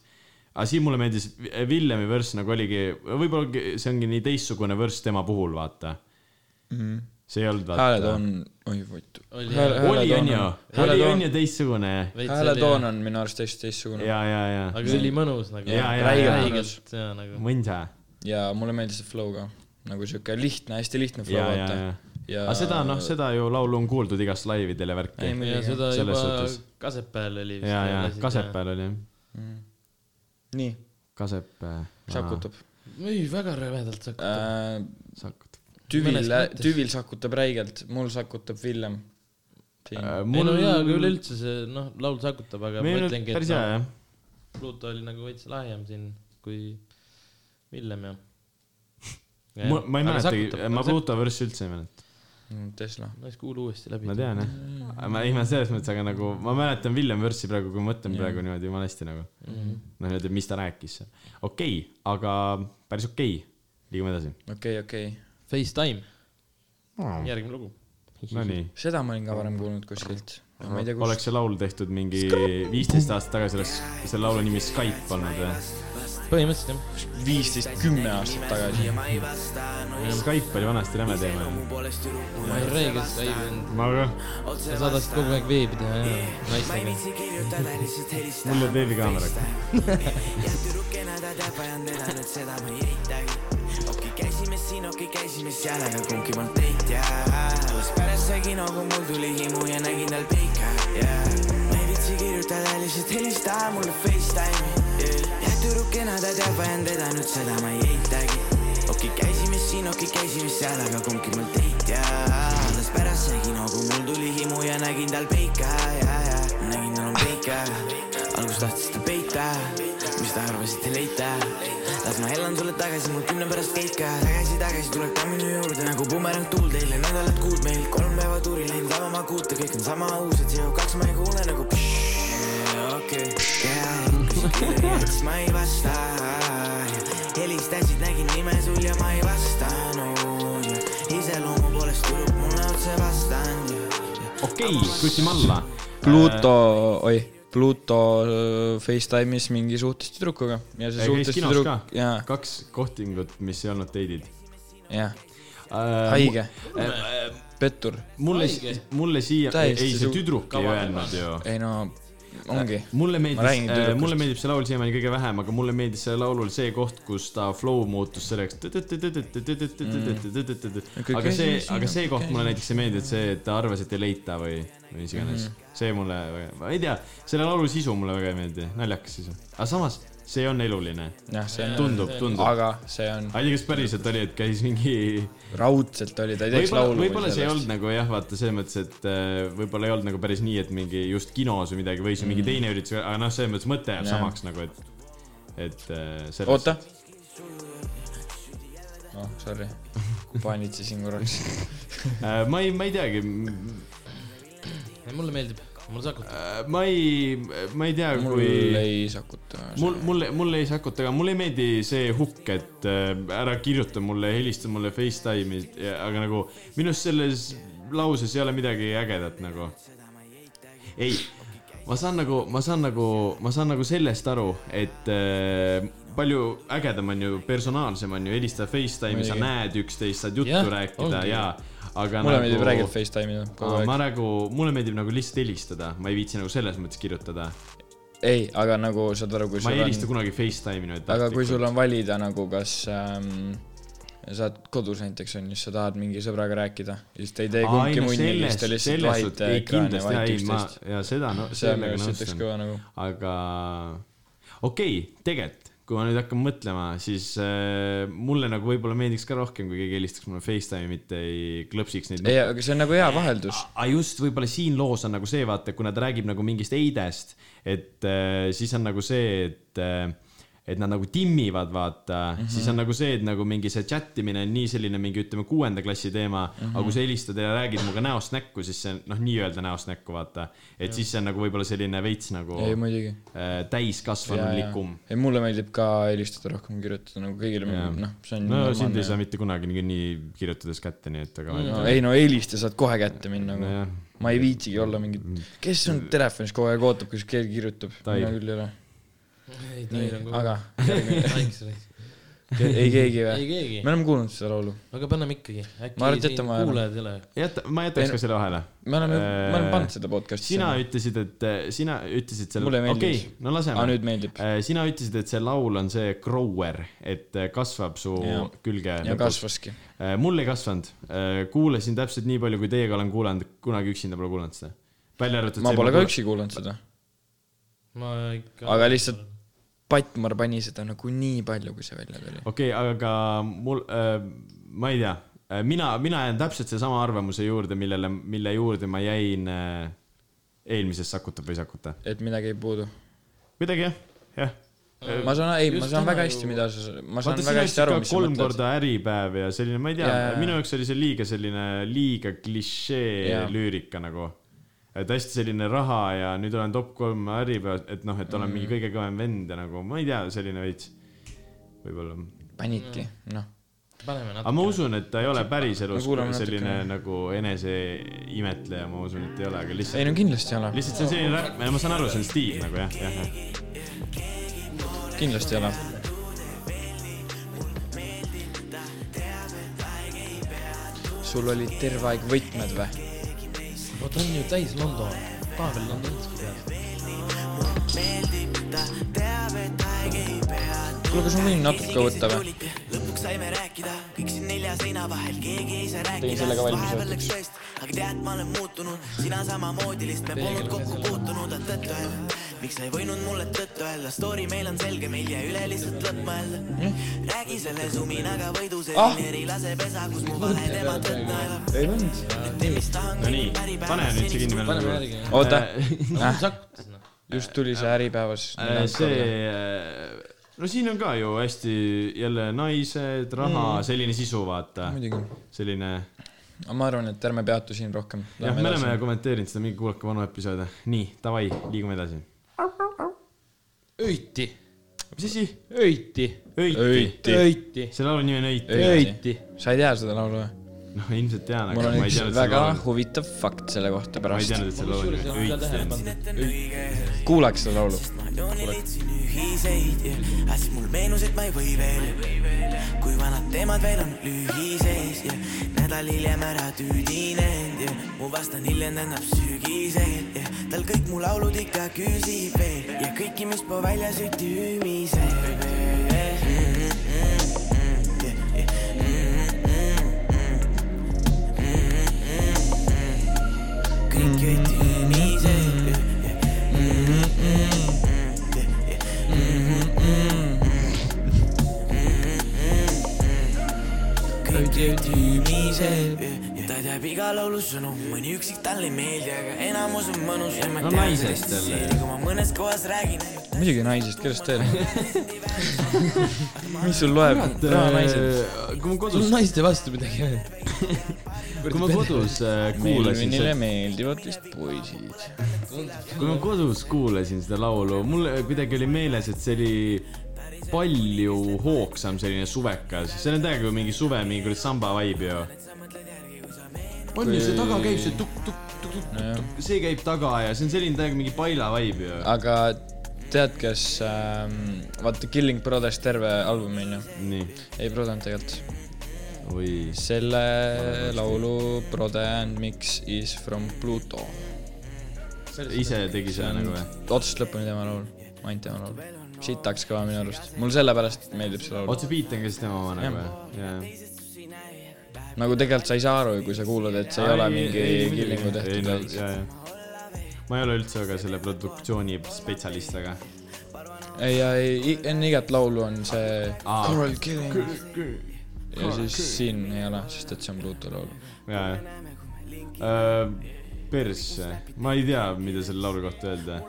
B: aga siin mulle meeldis Vi- Villemi värss nagu oligi , võib-olla ongi- see ongi nii teistsugune värss tema puhul , vaata mm . -hmm. see ei olnud
A: hääled
B: vaata .
A: on , oi võitu .
C: Oli-
B: oli onju , oli
A: hääletoon ,
B: onju teistsugune ja ,
A: hääletoon on minu arust täiesti teistsugune .
B: ja , ja , ja ,
C: aga ülimõnus nagu .
B: Jaa, jaa,
A: jaa.
C: räigelt . jaa , nagu .
B: mõnsa .
A: ja mulle meeldis see flow ka . nagu sihuke lihtne , hästi lihtne flow ,
B: ja , ja , ja .
A: vaata . ja
B: aga seda , noh , seda ju laulu on kuuldud igast laividel ja värki
A: Ei, . muidugi.
C: ja seda
B: Selles
C: juba
B: suhtes.
C: Kasepäel oli .
B: ja , ja Kasepääl oli jah , äh,
A: nii ,
B: Kasepää .
A: sakutab .
C: ei , väga rõvedalt sakutab .
A: Äh,
B: Sakutab .
A: tüvil
C: Mõnes mõttes. ,
A: tüvil sakutab räigelt , mul sakutab Villem . Äh.
C: ei no jaa , aga üleüldse see noh , laul sakutab , aga ma
B: meil on
C: ütlengi ,
B: päris
C: et
B: hea
C: noh,
B: jah .
C: Pluto oli nagu veits lahjem siin kui Villem ja .
B: ma ma ei mäletagi , ma . Pluto versi üldse ei mäleta .
A: Mm, Tesla .
C: no siis kuula uuesti läbi .
B: ma tean jah . ma ei , ma selles mõttes , aga nagu ma mäletan Villem versi praegu , kui ma mõtlen praegu niimoodi jumala hästi nagu . noh , niimoodi , mis ta rääkis . okei , aga päris okei . liigume edasi .
A: okei , okei .
C: Facetime , järgmine lugu .
B: Nonii .
A: seda ma olin ka varem kuulnud kuskilt . ma ei tea ,
B: oleks
A: kus .
B: see laul tehtud mingi viisteist aastat tagasi , oleks selle laulu nimi Skype olnud või ?
C: põhimõtteliselt jah .
A: viisteist , kümme aastat tagasi .
B: Skype oli vanasti läme teema ju .
C: ma ei räägi seda ei ,
B: ma ka ,
C: sa saadad kogu aeg veebi teha ja naistega .
B: mul jääb veebikaameraga .
E: jah , tüdrukena ta teab , vajan teda nüüd , seda ma ei eitagi . okei , käisime siin , okei , käisime seal , aga kumbki polnud teit ja alles pärast see kino , kui mul tuli himu ja nägin tal peika ja ma ei viitsi kirjutada , lihtsalt helista mulle Facetime'i yeah. . jah , tüdrukena ta teab , vajan teda nüüd , seda ma ei eitagi . okei , käisime siin , okei , käisime seal , aga kumbki polnud teit ja alles pärast see kino , kui mul tuli himu ja nägin tal peika ja , ja nägin tal on peika . algus tahtis ta peita , mis ta arvas , et ei leita . las ma elan sulle tagasi , mul kümne pärast käid ka . tagasi , tagasi tuleb ta minu juurde nagu bumerang tuul teile , nädalad , kuud meil , kolm päeva tuuri läinud , lava ma kuuta , kõik on sama uus , et CO2 ma ei kuule nagu . okei , keha ei küsi , siis ma ei vasta . helistasid , nägin nime sul ja ma ei vastanud . iseloomu poolest tüdruk mulle otse vastanud ja
B: okei , kutsime alla .
A: Pluto , oih , Pluto äh, Facetime'is mingi suhtes tüdrukuga ja see
B: käis
A: suhtes
B: kinos
A: tüdruk
B: ka ,
A: jaa ,
B: kaks kohtingut , mis ei olnud teidid .
A: jah , haige , pettur .
B: mulle , mulle siia ,
A: Täiesti
B: ei see
A: suur-
B: tüdruk ei öelnud ju .
A: ei no , ongi .
B: mulle
A: Ma räägin
B: meeldis ,
A: tüdrukust.
B: mulle meeldib see laul siiamaani kõige vähem , aga mulle meeldis sellel laulul see koht , kus ta flow muutus selleks .
A: Mm-hmm.
B: aga see , aga see koht mulle näiteks ei meeldinud , see , et ta arvas , et ei leita või , või mis iganes .
A: Mm-hmm.
B: see mulle , ma ei tea , selle laulu sisu mulle väga ei meeldi , naljakas sisu . aga samas , see on eluline .
A: jah , see on ,
B: tundub , tundub .
A: aga see on ,
B: ma ei tea , kas päriselt oli , et käis mingi
A: raudselt oli , ta ei teeks
B: võib-olla ,
A: laulu .
B: võib-olla see ei olnud nagu jah , vaata selles mõttes , et äh, võib-olla ei olnud nagu päris nii , et mingi just kinos või midagi või siis mingi teine üritus , aga noh , selles mõttes mõte jääb
A: Mm. Jah.
B: samaks nagu , et , et äh, selles .
A: oota . oh , sorry , paanitsesin korraks .
B: Äh, ma ei , ma ei teagi ,
C: mulle meeldib , mulle sakutab .
B: äh, ma ei , ma ei tea ,
A: mul
B: kui
A: ei sakuta .
B: mul , mulle , mulle ei sakuta , aga mulle ei meeldi see hukk , et äh, ära kirjuta mulle , helista mulle Facetime'i , aga nagu minu arust selles lauses ei ole midagi ägedat nagu . ei , ma saan nagu , ma saan nagu , ma saan nagu sellest aru , et äh, palju ägedam on ju , personaalsem on ju , helista Facetime'i , sa
A: Muidugi.
B: näed üksteist , saad juttu
C: Jah,
B: rääkida
C: ongi.
B: ja , aga
A: mulle
B: nagu...
A: meeldib räägida Facetime'ida kogu
B: ma
A: aeg .
B: nagu , mulle meeldib nagu lihtsalt helistada , ma ei viitsi nagu selles mõttes kirjutada .
A: ei , aga nagu saad aru , kui
B: ma ei
A: sul
B: helista
A: on ,
B: kunagi Facetime'i nüüd .
A: aga kui sul on valida nagu , kas ähm, sa oled kodus näiteks on ju , siis sa tahad mingi sõbraga rääkida , siis te ei tee
B: Aa, ei,
A: kumbki
B: no
A: munni , siis te
B: sellest-
A: lihtsalt äh,
B: sellest
A: vahite
B: ei,
A: ekraani ,
B: kindlasti,
A: vahite
B: ei, ma-
A: üksteist .
B: jaa, seda no-
A: see on
B: sellega
A: minu arust üks
B: nõustun.
A: kõva nagu .
B: aga okei okay, , tegelikult , kui ma nüüd hakkan mõtlema , siis äh, mulle nagu võib-olla meeldiks ka rohkem , kui keegi helistaks mulle Facetime'i , mitte ei klõpsiks neid
A: ei , aga see on nagu hea vaheldus .
B: aga just võib-olla siin loos on nagu see , vaata , kuna ta räägib nagu mingist eidest , et äh, siis on nagu see , et äh, et nad nagu timmivad , vaata
A: Mhm.
B: mm , -hmm. siis on nagu see , et nagu mingi see chat imine on nii selline mingi , ütleme , kuuenda klassi teema mm ,
A: Mhm.
B: -hmm. aga kui sa helistad ja räägid minuga näost näkku , siis see on noh , nii-öelda näost näkku , vaata . et ja. siis see on nagu võib-olla selline veits nagu
A: ei muidugi .
B: äh, täiskasvanulikum .
A: ei , mulle meeldib ka helistada rohkem , kirjutada nagu kõigile ,
B: Jaa.
A: noh , see on
B: no sind
A: normaalne.
B: ei saa mitte kunagi niikuinii kirjutades kätte , nii et aga ma ei
A: no
B: tea.
A: ei no helista saad kohe kätte minna nagu no,
B: Nojah. .
A: ma ei viitsigi olla mingit , kes on telefonis kogu aeg ootab , kus keegi kirjutab ,
B: Tair.
A: mina küll ei ole .
C: ei , nagu- Tair on kogu
A: aga
C: aeg .
A: ei keegi
C: ei
A: või ?
C: keegi
A: me , oleme kuulnud seda laulu ,
C: aga paneme ikkagi . äkki
A: Ma arvan, et noh.
C: siin
A: jätame vahele.
C: kuulajad ei ole .
B: jäta , ma jätaks
A: Ei,
B: ka selle vahele
A: me oleme ,
B: Äh,
A: me oleme pannud seda podcast'i .
B: sina ütlesid , et äh, sina ütlesid selle .
A: Mulle meeldis.
B: okei , no
A: aa ,
B: laseme .
A: nüüd meeldib .
B: sina ütlesid , et see laul on see grower , et äh, kasvab su ja.
A: Jaa.
B: külge .
A: ja . kasvaski .
B: mul ei kasvanud . kuulasin täpselt nii palju , kui teiega olen kuulanud , kunagi üksinda pole kuulanud seda . välja arvatud .
A: ma pole ka . üksi kuulanud seda ,
C: ma ikka .
A: aga lihtsalt Patmar pani seda nagu nii palju , kui see välja tuli .
B: okei okay, , aga mul , ma ei tea , mina , mina jään täpselt sellesama arvamuse juurde , millele , mille juurde ma jäin äh, eelmises Sakutab või ei sakuta .
A: et midagi ei puudu .
B: kuidagi jah , jah
A: ma saan , ei ,
C: Äh,
A: ma
C: Just
A: saan
C: täna
A: väga
C: ju-
A: hästi , mida sa , ma saan
B: vaata ,
A: väga
B: siin
A: hästi aru , mis sa
B: kolm
A: mõtled .
B: korda Äripäev ja selline , ma ei tea
A: Jaa, jaa, , jaa.
B: minu jaoks oli see liiga selline , liiga klišee
A: Jaa.
B: lüürika nagu . et hästi selline raha ja nüüd olen top kolm Äripäev , et noh , et olen mingi
A: Mm.
B: kõige kõvem vend ja nagu ma ei tea , selline veits . võib-olla ,
A: panidki ,
B: Mm.
A: noh .
C: paneme
B: aga ma
C: natuke .
B: usun , et ta ei ole päriselus
A: No kuulame
B: selline
A: natukene.
B: nagu eneseimetleja , ma usun , et ei ole , aga
A: ei
B: lihtsalt ,
A: no kindlasti ei ole ,
B: lihtsalt see on selline räpp , ma saan aru , see on stiil nagu jah , jah , jah .
A: kindlasti ei ole sul olid terve aeg võtmed või ?
C: vot on ju täis London . Pavel Londonski peab .
A: kuule , kas ma võin natuke võtta või ?
E: lõpuks saime rääkida , kõik siin nelja seina vahel , keegi ei saa rääkida .
A: selle ka valmis
E: vahepeal läks ööst , aga tead , ma olen muutunud , sina samamoodi , lihtsalt me polnud kokku puutunud , et tõtt öelda . miks sa ei võinud mulle tõtt öelda , story meil on selge , meil jäi üle lihtsalt lõpp mõelda . räägi selle suminaga võidu , see
A: Ah!
E: Vineri lasepesa , kus mu vahel tema tõtt naelab .
A: ei olnud .
E: tee mis tahan ,
B: Nonii , pane nüüd see kinni
C: paneme
B: veel . nagu.
C: järgi .
A: oota ,
B: Noh,
C: sakutas noh .
A: just tuli see Äripäevas . noh.
B: Äh, see , no siin on ka ju hästi jälle naised , raha mm. , selline sisu , vaata .
A: muidugi ,
B: selline ,
A: aga ma arvan , et ärme peatu siin rohkem .
B: jah , me oleme kommenteerinud seda mingi kuulake vanu episoode . nii , davai , liigume edasi .
C: öiti ,
B: mis asi ?
C: öiti ,
B: öiti .
A: öiti .
C: öiti ,
B: selle laulu nimi on Öiti .
C: öiti .
A: sa ei tea seda laulu või ?
B: noh , ilmselt tean ,
A: mul
B: aga
A: on
B: ma ei
A: üks
B: teadnud selle
A: väga
B: laulu .
A: huvitav fakt selle kohta
B: ma ei
A: pärast .
B: teadnud , et selle laulu nimi on
C: kusjuures
B: Öiti .
C: tähele pannud .
A: kuulaks seda laulu .
E: jooni leidsin ühiseid ja aga siis mul meenus , et ma ei või veel . kui vanad teemad veel on lühisees ja nädal hiljem ära tüüdinen ja mu vastane hiljem tähendab sügisel ja tal kõik mu laulud ikka küsib veel ja kõiki , mis ma väljas üti hüümise . Mm-hmm, mm-hmm. kõik üti hüümise . kõik üti hüümise . ta teab iga laulu sõnu , mõni üksik talle ei meeldi , aga enamus on mõnus . no
B: naisest jälle. .
E: kui ma mõnes kohas räägin ,
A: muidugi naisest , kellest veel ? mis sul loeb ? jaa , naised .
B: äh,
C: sul
B: kui ma
C: on
B: kodus ,
C: naiste vastu midagi või ?
B: kui ma kodus äh, kuulasin seda
A: Melvinile meeldivad vist poisid .
B: kui ma kodus kuulasin seda laulu , mul kuidagi oli meeles , et see oli palju hoogsam selline suvekas , see on täiega mingi suve , mingi kuradi samba vibe ju . on ju , see taga käib see tukk-tukk-tukk-tukk , see käib taga ja see on selline täiega mingi paila vibe ju .
A: aga tead , kes ähm, , vaata Killing Brothers terve album onju ,
B: nii ,
A: ei prodanud tegelikult .
B: oi ,
A: selle laulu prode and mix is from Pluto .
B: ise tegi seda nagu või ?
A: otsast lõpuni tema laul , ainult tema laul . sitaks kõva minu arust , mulle sellepärast meeldib see laul .
B: otse beat on ka siis tema oma nagu või ?
A: nagu tegelikult sa ei saa aru , kui sa kuulad , et see ei ole mingi killingu tehtud .
B: ma ei ole üldse väga selle produktsiooni spetsialist , aga .
A: ei , ei , enne igat laulu on see
B: Aa.
A: Coral Killing ja siis siin ei ole , sest et see on Pluto laul .
B: jaa , jaa . Persse , ma ei tea , mida selle laulu kohta öelda .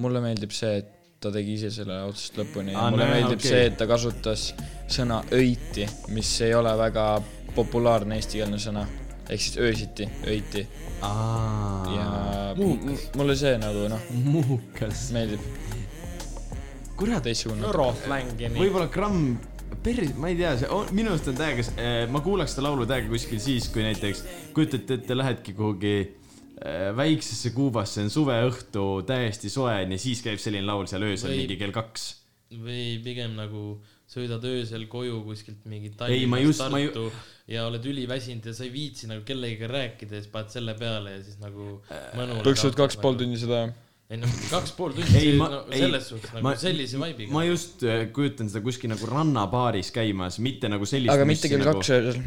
A: mulle meeldib see , et ta tegi ise selle otsast lõpuni ja
F: Ah,
B: Aa,
A: mulle
B: nojah,
A: meeldib
B: okei.
A: see , et ta kasutas sõna öiti , mis ei ole väga populaarne eestikeelne sõna , ehk siis öösiti , öiti ja m- m- mulle see nagu noh ,
B: muukas .
A: meeldib .
B: kurat ,
A: teistsugune .
F: rohläng ja nii .
B: võib-olla gramm , päris , ma ei tea , see on , minu arust on täiega , ma kuulaks seda laulu täiega kuskil siis , kui näiteks kujutate ette , lähedki kuhugi äh, väiksesse Kuubasse , on suveõhtu , täiesti soe on ja siis käib selline laul seal öösel
F: Või-
B: mingi kell kaks .
F: või pigem nagu sõidad öösel koju kuskilt mingi
B: Ei, ma
F: Tallinnast
B: just- ma ju-
F: Tartu ja oled üliväsinud ja sa ei viitsi nagu kellegagi rääkida ja siis paned selle peale ja siis nagu
B: Äh,
F: mõnule
A: põksud
F: kaotab
A: kaks pool
F: nagu-
A: tundi seda .
F: ei noh , kaks pool tundi ,
B: Ei,
F: see
B: ma-
F: no,
B: ei,
F: selles suhtes nagu
B: ma-
F: sellise vibe'iga
B: ma just äh, kujutan seda kuskil nagu rannabaaris käimas , mitte nagu sellist .
A: aga mitte kell kaks öösel .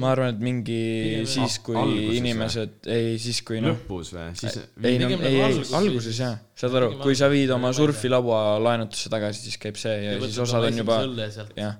A: ma arvan , et mingi siis ,
B: alguses
A: kui
B: või?
A: inimesed , ei siis , kui noh
B: lõpus või , siis
A: ei no ,
F: Pigem
A: ei ,
F: nagu
A: ei
F: alguses
A: alguses
F: siis-
A: jah , saad aru ,
F: pigem
A: kui sa viid
F: alguses,
A: oma
F: ma ei tea.
A: surfilaua laenutusse tagasi , siis käib see ja, ja siis osad on juba , jah .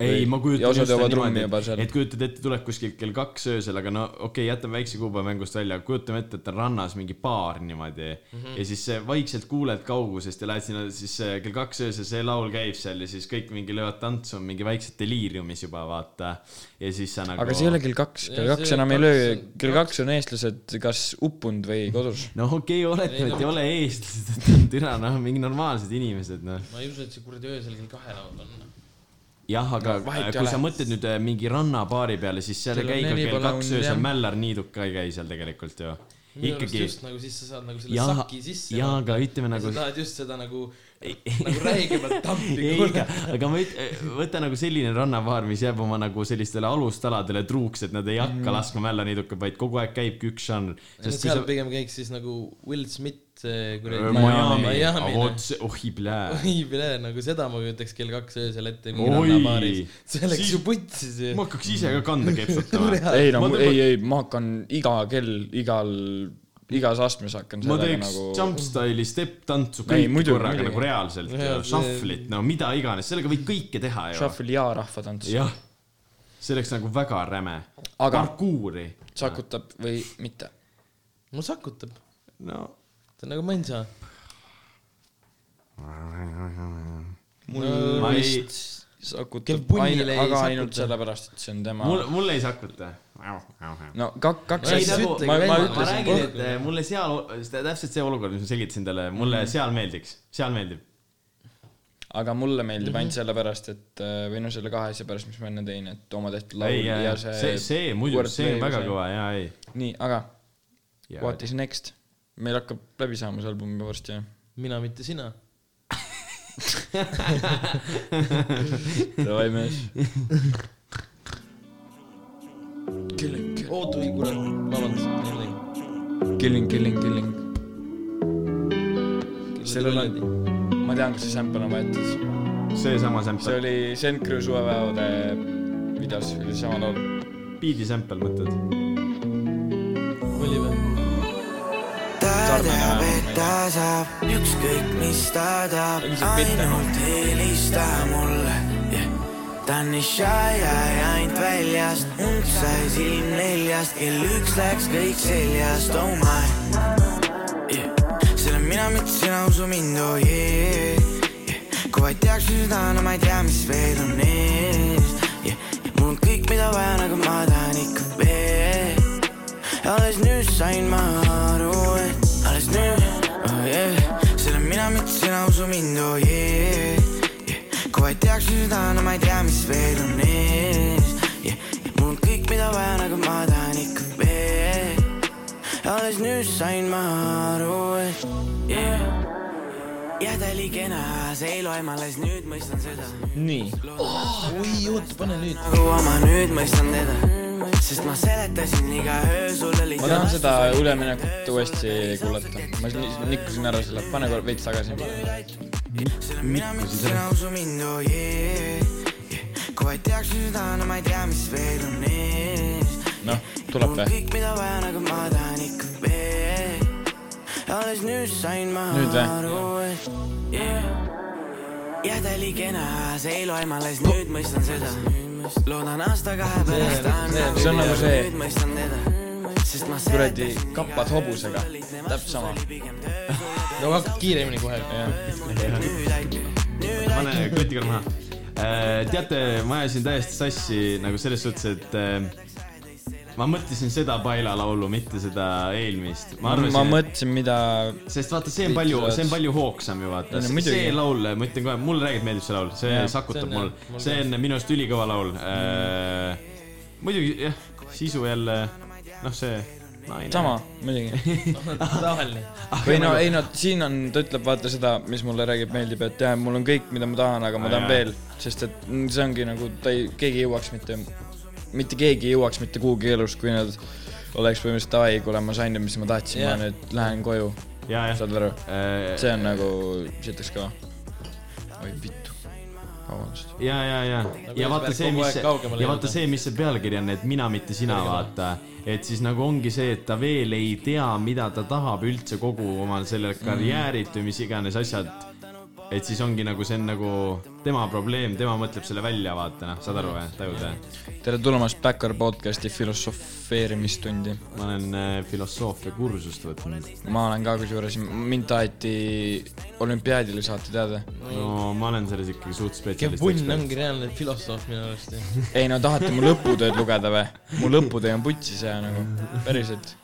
B: ei , ma kujutan
A: osad
B: just seda
A: joovad rummi
B: niimoodi
A: juba , seal
B: et . kujutad ette , tuleb kuskilt kell kaks öösel , aga no okei okay, , jätame väikse Kuuba mängust välja , kujutame ette , et on rannas mingi baar niimoodi mm .
A: Mhm.
B: -hmm. ja siis äh, vaikselt kuuled kaugusest ja lähed sinna , siis äh, kell kaks öösel see laul käib seal ja siis kõik mingi löövad tantsu , mingi väikselt deliiriumis juba vaata . ja siis sa nagu .
A: aga see ei ole kell kaks , kell
F: Ja
A: kaks
F: see
A: enam ei
F: kaks
A: löö
F: on- ,
A: kell
F: kaks-
A: kaks on eestlased kas uppunud või kodus .
B: no okei okay, , oletame , et ei ole eestlased , et on türa , noh , mingi normaalsed inimesed , noh .
F: ma ei usu , et see kuradi öösel kell kahe laul on .
B: jah , aga
A: No
B: no,
A: vahet ei
B: kui
A: ole.
B: sa mõtled nüüd äh, mingi rannabaari peale , siis seal ei
A: Kell on
B: käi ka
A: neli
B: kell
A: pole
B: kaks
A: on- jah.
B: öösel , mällarniiduk ka ei käi seal tegelikult ju . ikkagi
F: just nagu siis sa saad nagu selle
B: jaa ,
F: saki sisse .
B: jaa , aga ütleme
F: nagu...
B: nagu
F: sa , tahad just seda nagu , nagu räigemat tampi
B: ei ,
F: kuulda
B: aga , aga ma üt- , võta nagu selline rannapaar , mis jääb oma nagu sellistele alustaladele truuks , et nad ei hakka
A: Mhm.
B: mm. laskma mälaniiduka , vaid kogu aeg käibki üks žanr . sest kui
F: seal
B: sa
F: sa... pigem käiks siis nagu Will Smith eh,
B: Öö,
F: kuradi
B: Miami ,
F: Miami
B: vot , see , oh, ohi plää .
F: oi pere , nagu seda ma kujutaks kell kaks öösel ette mingi
B: Oi.
F: rannabaaris . see oleks
B: Siis-
F: ju putsi see .
B: ma hakkaks ise ka kanda kepsutama .
A: ei no
B: Ma , tõmban-
A: ei , ei , ma hakkan iga kell , igal , igas astmes hakkan
B: ma
A: sellega
B: teeks nagu...
A: nagu ,
B: jump style'i step tantsu
A: Ei,
B: kõik
A: muidugi,
B: korraga
A: muidugi.
B: nagu reaalselt
F: Jaa, , see-
B: shuffle'it , no mida iganes , sellega võid kõike teha ju .
A: shuffle ja rahvatants .
B: jah , see oleks nagu väga räme .
A: Aga-
B: parkuuri .
A: sakutab või mitte .
F: mul sakutab ,
B: no
F: ta on nagu mõnsa .
B: ma ei ,
A: sakutab
F: Kell
A: ainult ,
F: punnile ei
A: aga
F: sakuta.
A: ainult sellepärast , et see on tema .
B: mul , mul ei sakuta .
A: no kak- , kaks
B: ei
A: asja
B: nagu ,,
A: ma , ma
B: ma räägin ,
A: ütlesin ,
B: et eh, mulle seal , täpselt see olukord , mis ma selgitasin talle , mulle
A: Mhm.
B: seal meeldiks , seal meeldib .
A: aga mulle meeldib ainult sellepärast , et äh, või no selle kahe asja pärast , mis ma enne tõin , et oma tehtud laul
B: ei ,
A: ja, ja see .
B: see , see muidugi , see on väga . kõva ja ei .
A: nii , aga what is next ? meil hakkab läbi saama see album juba varsti jah ?
F: mina , mitte sina .
A: Davai mees .
F: oota , ei kurat , vabandust , jällegi .
A: Killing , killing , killing . sellel on , ma tean , kas see sample on võetud .
B: seesama
A: see
B: sample ,
A: oli Send Crew suvepäevade videos oli sama laul .
B: beat'i sample mõtled ?
F: oli või ?
E: ta
A: Tarmo
E: teab ,
A: Jaan,
E: et ta saab ükskõik mis ta tahab
A: Ei, mis see , pitt on?
E: ainult helista mulle yeah. . ta on nii shy ja ainult väljast , und sai silm neljast , kell üks läks kõik seljast , oh my yeah. . selle mina , mitte sina , usu mind , oh yeah, yeah. . kui vaid teaks , mis ta on , ma ei tea , mis veel on ees yeah. . mul on kõik , mida vaja , nagu ma tahan ikka veel alles nüüd sain ma aru , et alles nüüd , oh yeah , selle mina , mitte sina usu mind , oh yeah, yeah. . kui vaid teaks , mis ma tahan , ma ei tea , mis veel on ees yeah. . mul on kõik , mida vaja , nagu ma tahan ikka veel . alles nüüd sain ma aru , et yeah. jah , ta oli kena , see ei loe , ma alles nüüd mõistan seda
A: nii . oi , oota , pane nüüd .
E: nagu oma nüüd mõistan teda , sest ma seletasin iga öö sulle
A: ma
E: lihtsalt
A: tahan seda üleminekut uuesti kuulata . ma siin nikkusin ära selle , pane korra veits tagasi .
E: mina , mis sina usu mind , oh yeah, yeah. . kui vaid teaks , mis ma tahan , ma ei tea , mis veel on ees .
A: noh , tuleb
E: mul on
A: või ?
E: kõik , mida vaja , nagu ma tahan ikka veel . alles nüüd sain ma
A: Nüüd või?
E: aru , et yeah. jah , ta oli kena , see ei loe , ma alles nüüd mõistan seda . loodan aasta-kahe pärast ta on
A: see on nagu see-
E: nüüd mõistan teda , sest ma
A: kuradi
E: seletasin iga
A: kappad hobusega , täpselt sama .
F: no hakkad kiiremini kohe .
B: pane kotiga maha . teate , ma ajasin täiesti sassi nagu selles suhtes , et äh, ma mõtlesin seda Paila laulu , mitte seda eelmist . ma
A: ma
B: arvasin ,
A: mõtlesin , mida ,
B: sest vaata , see on palju , see on palju hoogsam ju vaata
A: Ei no . muidugi.
B: see laul , ma ütlen kohe , mulle tegelikult meeldib see laul , see
A: Jaa.
B: sakutab
F: See on
B: mul
F: jah, mul .
B: see on minu arust ülikõva laul . muidugi jah , sisu jälle , noh , see .
A: sama , muidugi .
F: Noh, tavaline .
A: või no ei no siin on , ta ütleb vaata seda , mis mulle räägib , meeldib , et jah , mul on kõik , mida ma tahan , aga ma
B: Aa,
A: tahan
B: jaa.
A: veel , sest et mm, see ongi nagu ta ei , keegi ei jõuaks mitte , mitte keegi ei jõuaks mitte kuhugi elus , kui nad oleks põhimõtteliselt davai , kuule , ma sain nüüd , mis ma tahtsin , ma
F: Jah.
A: nüüd lähen koju ,
B: ja , jah . Äh,
A: saad aru , see on nagu sitaks kõva . oi vittu , vabandust .
B: ja , ja , ja , ja vaata
F: eesmärk
B: see ,
F: kogu
B: mis
F: aeg
B: see ,
F: kaugemale
B: ja vaata
F: jõuda.
B: see , mis see pealkiri on , et mina , mitte sina , vaata . et siis nagu ongi see , et ta veel ei tea , mida ta tahab üldse kogu oma sellel
F: Mm.
B: karjäärit või mis iganes asjad . et siis ongi nagu see on nagu tema probleem , tema mõtleb selle välja , vaata noh , saad aru või , tajud või ?
A: tere tulemast Backyard podcasti filosofeerimistundi .
B: ma olen äh, filosoofiakursust võtnud .
A: ma olen ka kusjuures , mind taheti olümpiaadile saata , tead või ?
B: no ma olen selles ikkagi suht
F: Kevvunn
B: spetsialist .
F: ongi reaalne filosoof minu arust .
A: ei no tahate mu lõputööd lugeda või ? mu lõputöö on putsis ja nagu päriselt ,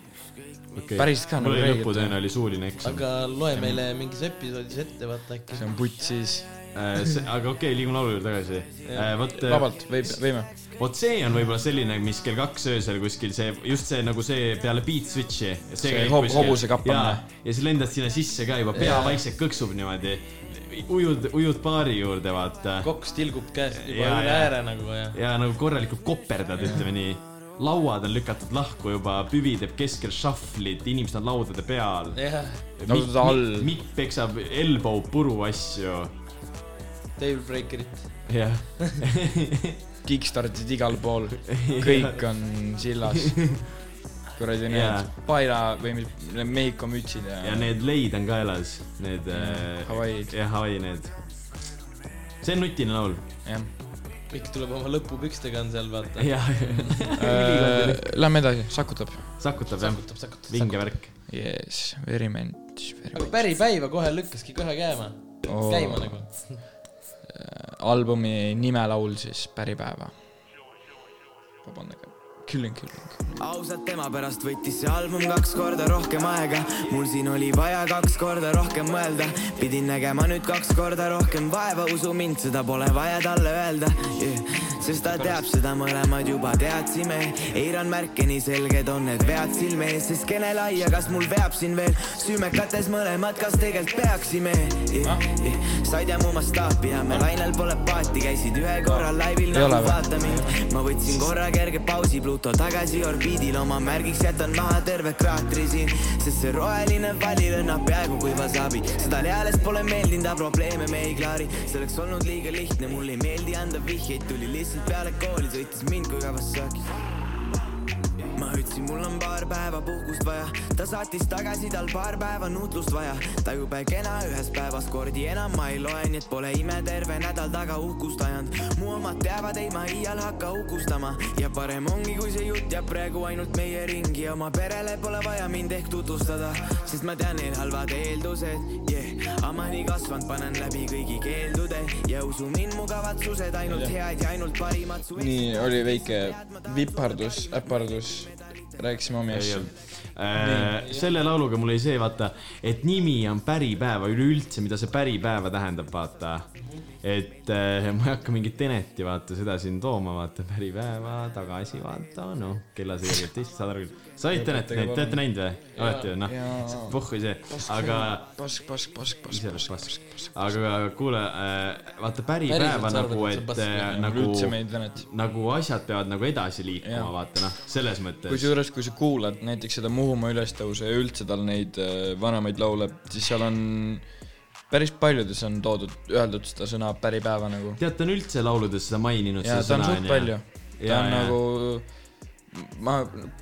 A: päriselt ka
B: mul
A: nagu
B: oli
A: reeglid
B: lõputööna oli suuline eksam .
F: aga loe meile mingis episoodis ette , vaata äkki
A: see . on putsis .
B: Äh, aga okei , liigume laulu juurde tagasi . vot . äh,
A: vabalt , võib , võime .
B: vot see on võib-olla selline , mis kell kaks öösel kuskil see , just see nagu see peale beat switch'i . see
A: See
B: käib
A: hob-
B: kuskil.
A: hobuse kappamine.
B: Jaa, ja siis lendad sinna sisse ka juba , pea vaikselt kõksub niimoodi . ujud , ujud baari juurde , vaata .
F: koks tilgub käest juba
B: Jaa,
F: üle
B: jaa.
F: ääre nagu ja .
B: ja nagu korralikult koperdad , ütleme nii . lauad on lükatud lahku juba , püvi teeb keskel šahvlit , inimesed on laudade peal .
F: jah ,
A: laudade all.
B: Mikk peksab elbow puru asju .
F: table breaker'it .
B: jah ,
A: Kickstartid igal pool , kõik on sillas . kuradi
B: Jaa.
A: need paila või mis , need Mehhiko mütsid ja,
B: ja need äh, leid on kaelas , need .
A: Hawaii'd.
B: jah , Hawaii need . see on nutine laul
A: jah .
F: Mikk tuleb oma lõpupükstega on seal , vaata .
B: jah ,
A: Äh, Lähme edasi , sakutab .
B: sakutab jah ,
F: sakutab , sakutab ,
B: vinge
F: sakutab .
B: värk .
A: Yes , very much , very
F: aga
A: much .
F: päripäiva kohe lükkaski kohe käima , käima nagu .
A: albumi nimelaul siis Päripäeva . vabandage , Killing Killing .
E: ausalt tema pärast võttis see album kaks korda rohkem aega , mul siin oli vaja kaks korda rohkem mõelda , pidin nägema nüüd kaks korda rohkem vaeva , usu mind , seda pole vaja talle öelda yeah. , sest ta teab seda , mõlemad juba teadsime , eiran märke , nii selged on need vead silme ees , sest kene laia , kas mul veab siin veel süümekates mõlemad , kas tegelikult peaksime yeah. yeah. , sa ei tea mu mastaapi ja me lainel pole paati , käisid ühe korra laivil nagu
A: Ei ole või?
E: vaata mind , ma võtsin korra kerge pausi , Bluetooth auto tagasi orbiidil , oma märgiks jätan maha terve kraatri siin , sest see roheline vali lõhnab peaaegu kuiva saabi . seda lealest pole meeldinud , aga probleeme me ei klaari , see oleks olnud liiga lihtne , mulle ei meeldi anda vihjeid , tuli lihtsalt peale kooli , sõitis mind kui Kawasaki's . ma ütlesin , mul on paar päeva puhkust vaja , ta saatis tagasi tal paar päeva nutlust vaja . ta jube kena ühes päevas kordi enam ma ei loe , nii et pole ime terve nädal taga uhkust ajanud . mu omad teavad , ei ma iial hakka uhkustama ja parem ongi , kui see jutt jääb praegu ainult meie ringi ja oma perele pole vaja mind ehk tutvustada , sest ma tean neil halvad eeldused yeah. . aga ma nii kasvanud , panen läbi kõigi keeldude ja usu mind , mu kavatsused ainult head ja ainult parimad su .
A: nii oli väike vipardus , äpardus , rääkisime omi
B: ei
A: asju .
B: olnud . selle lauluga mul oli see , vaata , et nimi on päripäeva üleüldse , mida see päripäeva tähendab , vaata . et äh, ma ei hakka mingit Eneti , vaata , seda siin tooma , vaata , päripäeva tagasi , vaata , noh , kella seega teist , saad aru küll . sa olid Enet näinud , te olete näinud või ? olete ju , noh , puhku see , aga ,
A: pask , pask , pask , pask , pask , pask , pask .
B: aga kuule äh, , vaata päripäeva
C: sa arvad,
B: nagu ,
C: et see on
B: et
C: pass-
B: äh,
A: üldse
B: nagu
A: meid Venet .
B: nagu asjad peavad nagu edasi liikuma
A: Jaa. ,
B: vaata noh , selles mõttes .
A: kusjuures , kui sa kuulad näiteks seda Muhumaa ülestõusu ja üldse tal neid äh, vanemaid laule , siis seal on päris paljudes on toodud , öeldud seda sõna päripäeva nagu .
B: tead , ta on üldse lauludes seda maininud .
A: ja ta on suht palju . ta
B: Jaa,
A: on
B: jaa.
A: nagu , ma ,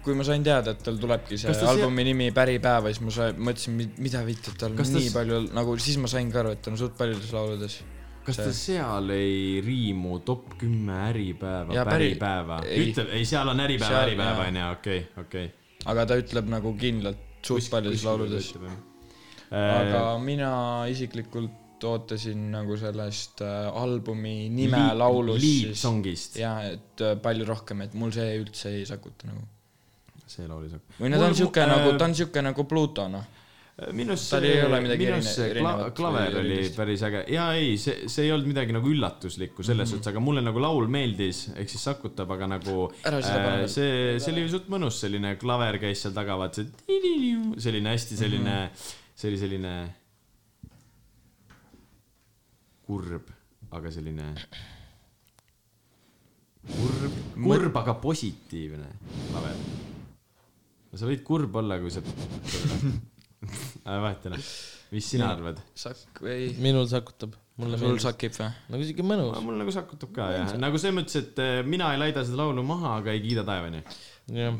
A: kui ma sain teada , et tal tulebki see
B: Kas ta see-
A: albumi nimi Päripäeva , siis ma sain , mõtlesin , mida vittu , tal on
B: Kas ta
A: nii
B: s-
A: palju nagu , siis ma sain ka aru , et ta on suht paljudes lauludes .
B: kas ta seal ei riimu top kümme Äripäeva ,
A: Jaa, päri-
B: Päripäeva ?
A: ei.
B: ütleb , ei , seal on Äripäev ,
A: Seal-
B: Äripäev
A: jaa.
B: on ju , okei , okei .
A: aga ta ütleb nagu kindlalt suht paljudes lauludes . aga
B: aga
A: mina isiklikult ootasin nagu sellest äh, albumi nime laulust
B: Lead . Songist ,
A: ja et äh, palju rohkem , et mul see üldse ei sakuta nagu .
B: Äh, see laul ei saa .
A: või no ta on
B: äh,
A: siuke nagu , ta on siuke nagu Pluto noh .
B: minu arust
A: tal ei ole midagi
B: minu
A: erine-
B: arust see kla-
A: erinevat
B: klaver
A: või
B: oli
A: erilist.
B: päris äge ja ei , see , see ei olnud midagi nagu üllatuslikku selles
A: Mhm.
B: suhtes mm -hmm. , aga mulle nagu laul meeldis , ehk siis sakutab , aga nagu
A: Ära seda pane veel.
B: see , see oli suht mõnus , selline klaver käis seal taga , vaat see tili-liu, selline hästi selline mm ,
A: Mhm.
B: -hmm. see oli selline kurb , aga selline kurb , kurb , aga positiivne klaver . no sa võid kurb olla , kui sa Äh, vahet ei ole , mis sina arvad ?
A: Sakk või ?
F: minul sakutab , mulle
A: sul
F: meeldib .
A: sakib või ?
F: nagu siuke mõnus
B: mul nagu sakutab ka jah , nagu selles mõttes , et äh, mina ei laida seda laulu maha , aga ei kiida taevani .
F: jah ,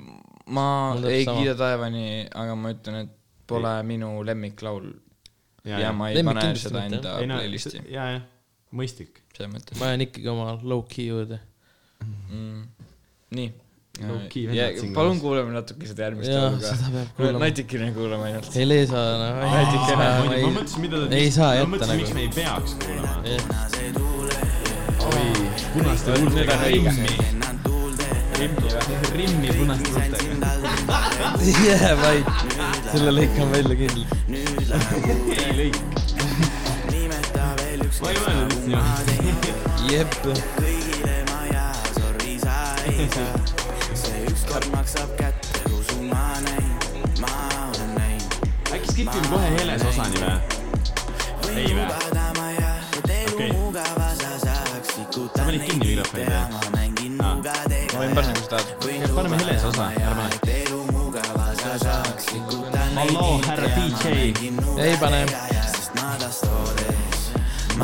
A: ma
F: Mul täpselt
A: ei
F: sama.
A: kiida taevani , aga ma ütlen , et pole minu lemmiklaul ja, ja ma ei
F: Lemmik
A: pane
F: kindlasti
A: seda
F: mitte,
A: enda
B: ei no
A: playlisti ,
B: ja , jah , mõistlik .
A: selles mõttes .
F: ma jään ikkagi oma low-key juurde .
A: nii .
B: Low-key
A: ja
B: vennad siin
A: palun
B: koos.
A: kuulame natuke seda järgmist
F: Jaa,
A: laulu
F: seda peab
A: ka .
F: kuulama.
A: natikene kuulame ainult .
F: ei leesa nagu .
A: Natukene,
B: ma mõtlesin , mida ta
F: ei saa
B: ma
F: jätta
B: mõtlesin , miks
F: nagu .
B: me ei peaks kuulama .
A: punaste huultega õige .
B: rimmi punast võtta .
F: jää vaid , selle lõikan välja kindlalt .
B: ei lõik .
E: nimeta veel üks
B: ma ei mõelnud üldse niimoodi .
F: jep ,
E: kõigile ma ja sorry sa ei saa . see ükskord maksab kätte , usu ma näin , ma olen näinud .
B: äkki skipime kohe Heles osani või ? ei vä?
E: lubada ma ja et elu
B: Okei.
E: okay. mugava sa saaks
B: Sa
E: ikuta
B: panid kinni mikrofoni,
E: ja
B: jah?
E: ma mängin nugadega .
A: ma võin panna , kui sa tahad .
B: paneme Helese osa, ära pane.
E: et elu mugava sa saaks ikuta
B: halloo , härra DJ .
F: ei pane .
E: sest madas toodes ,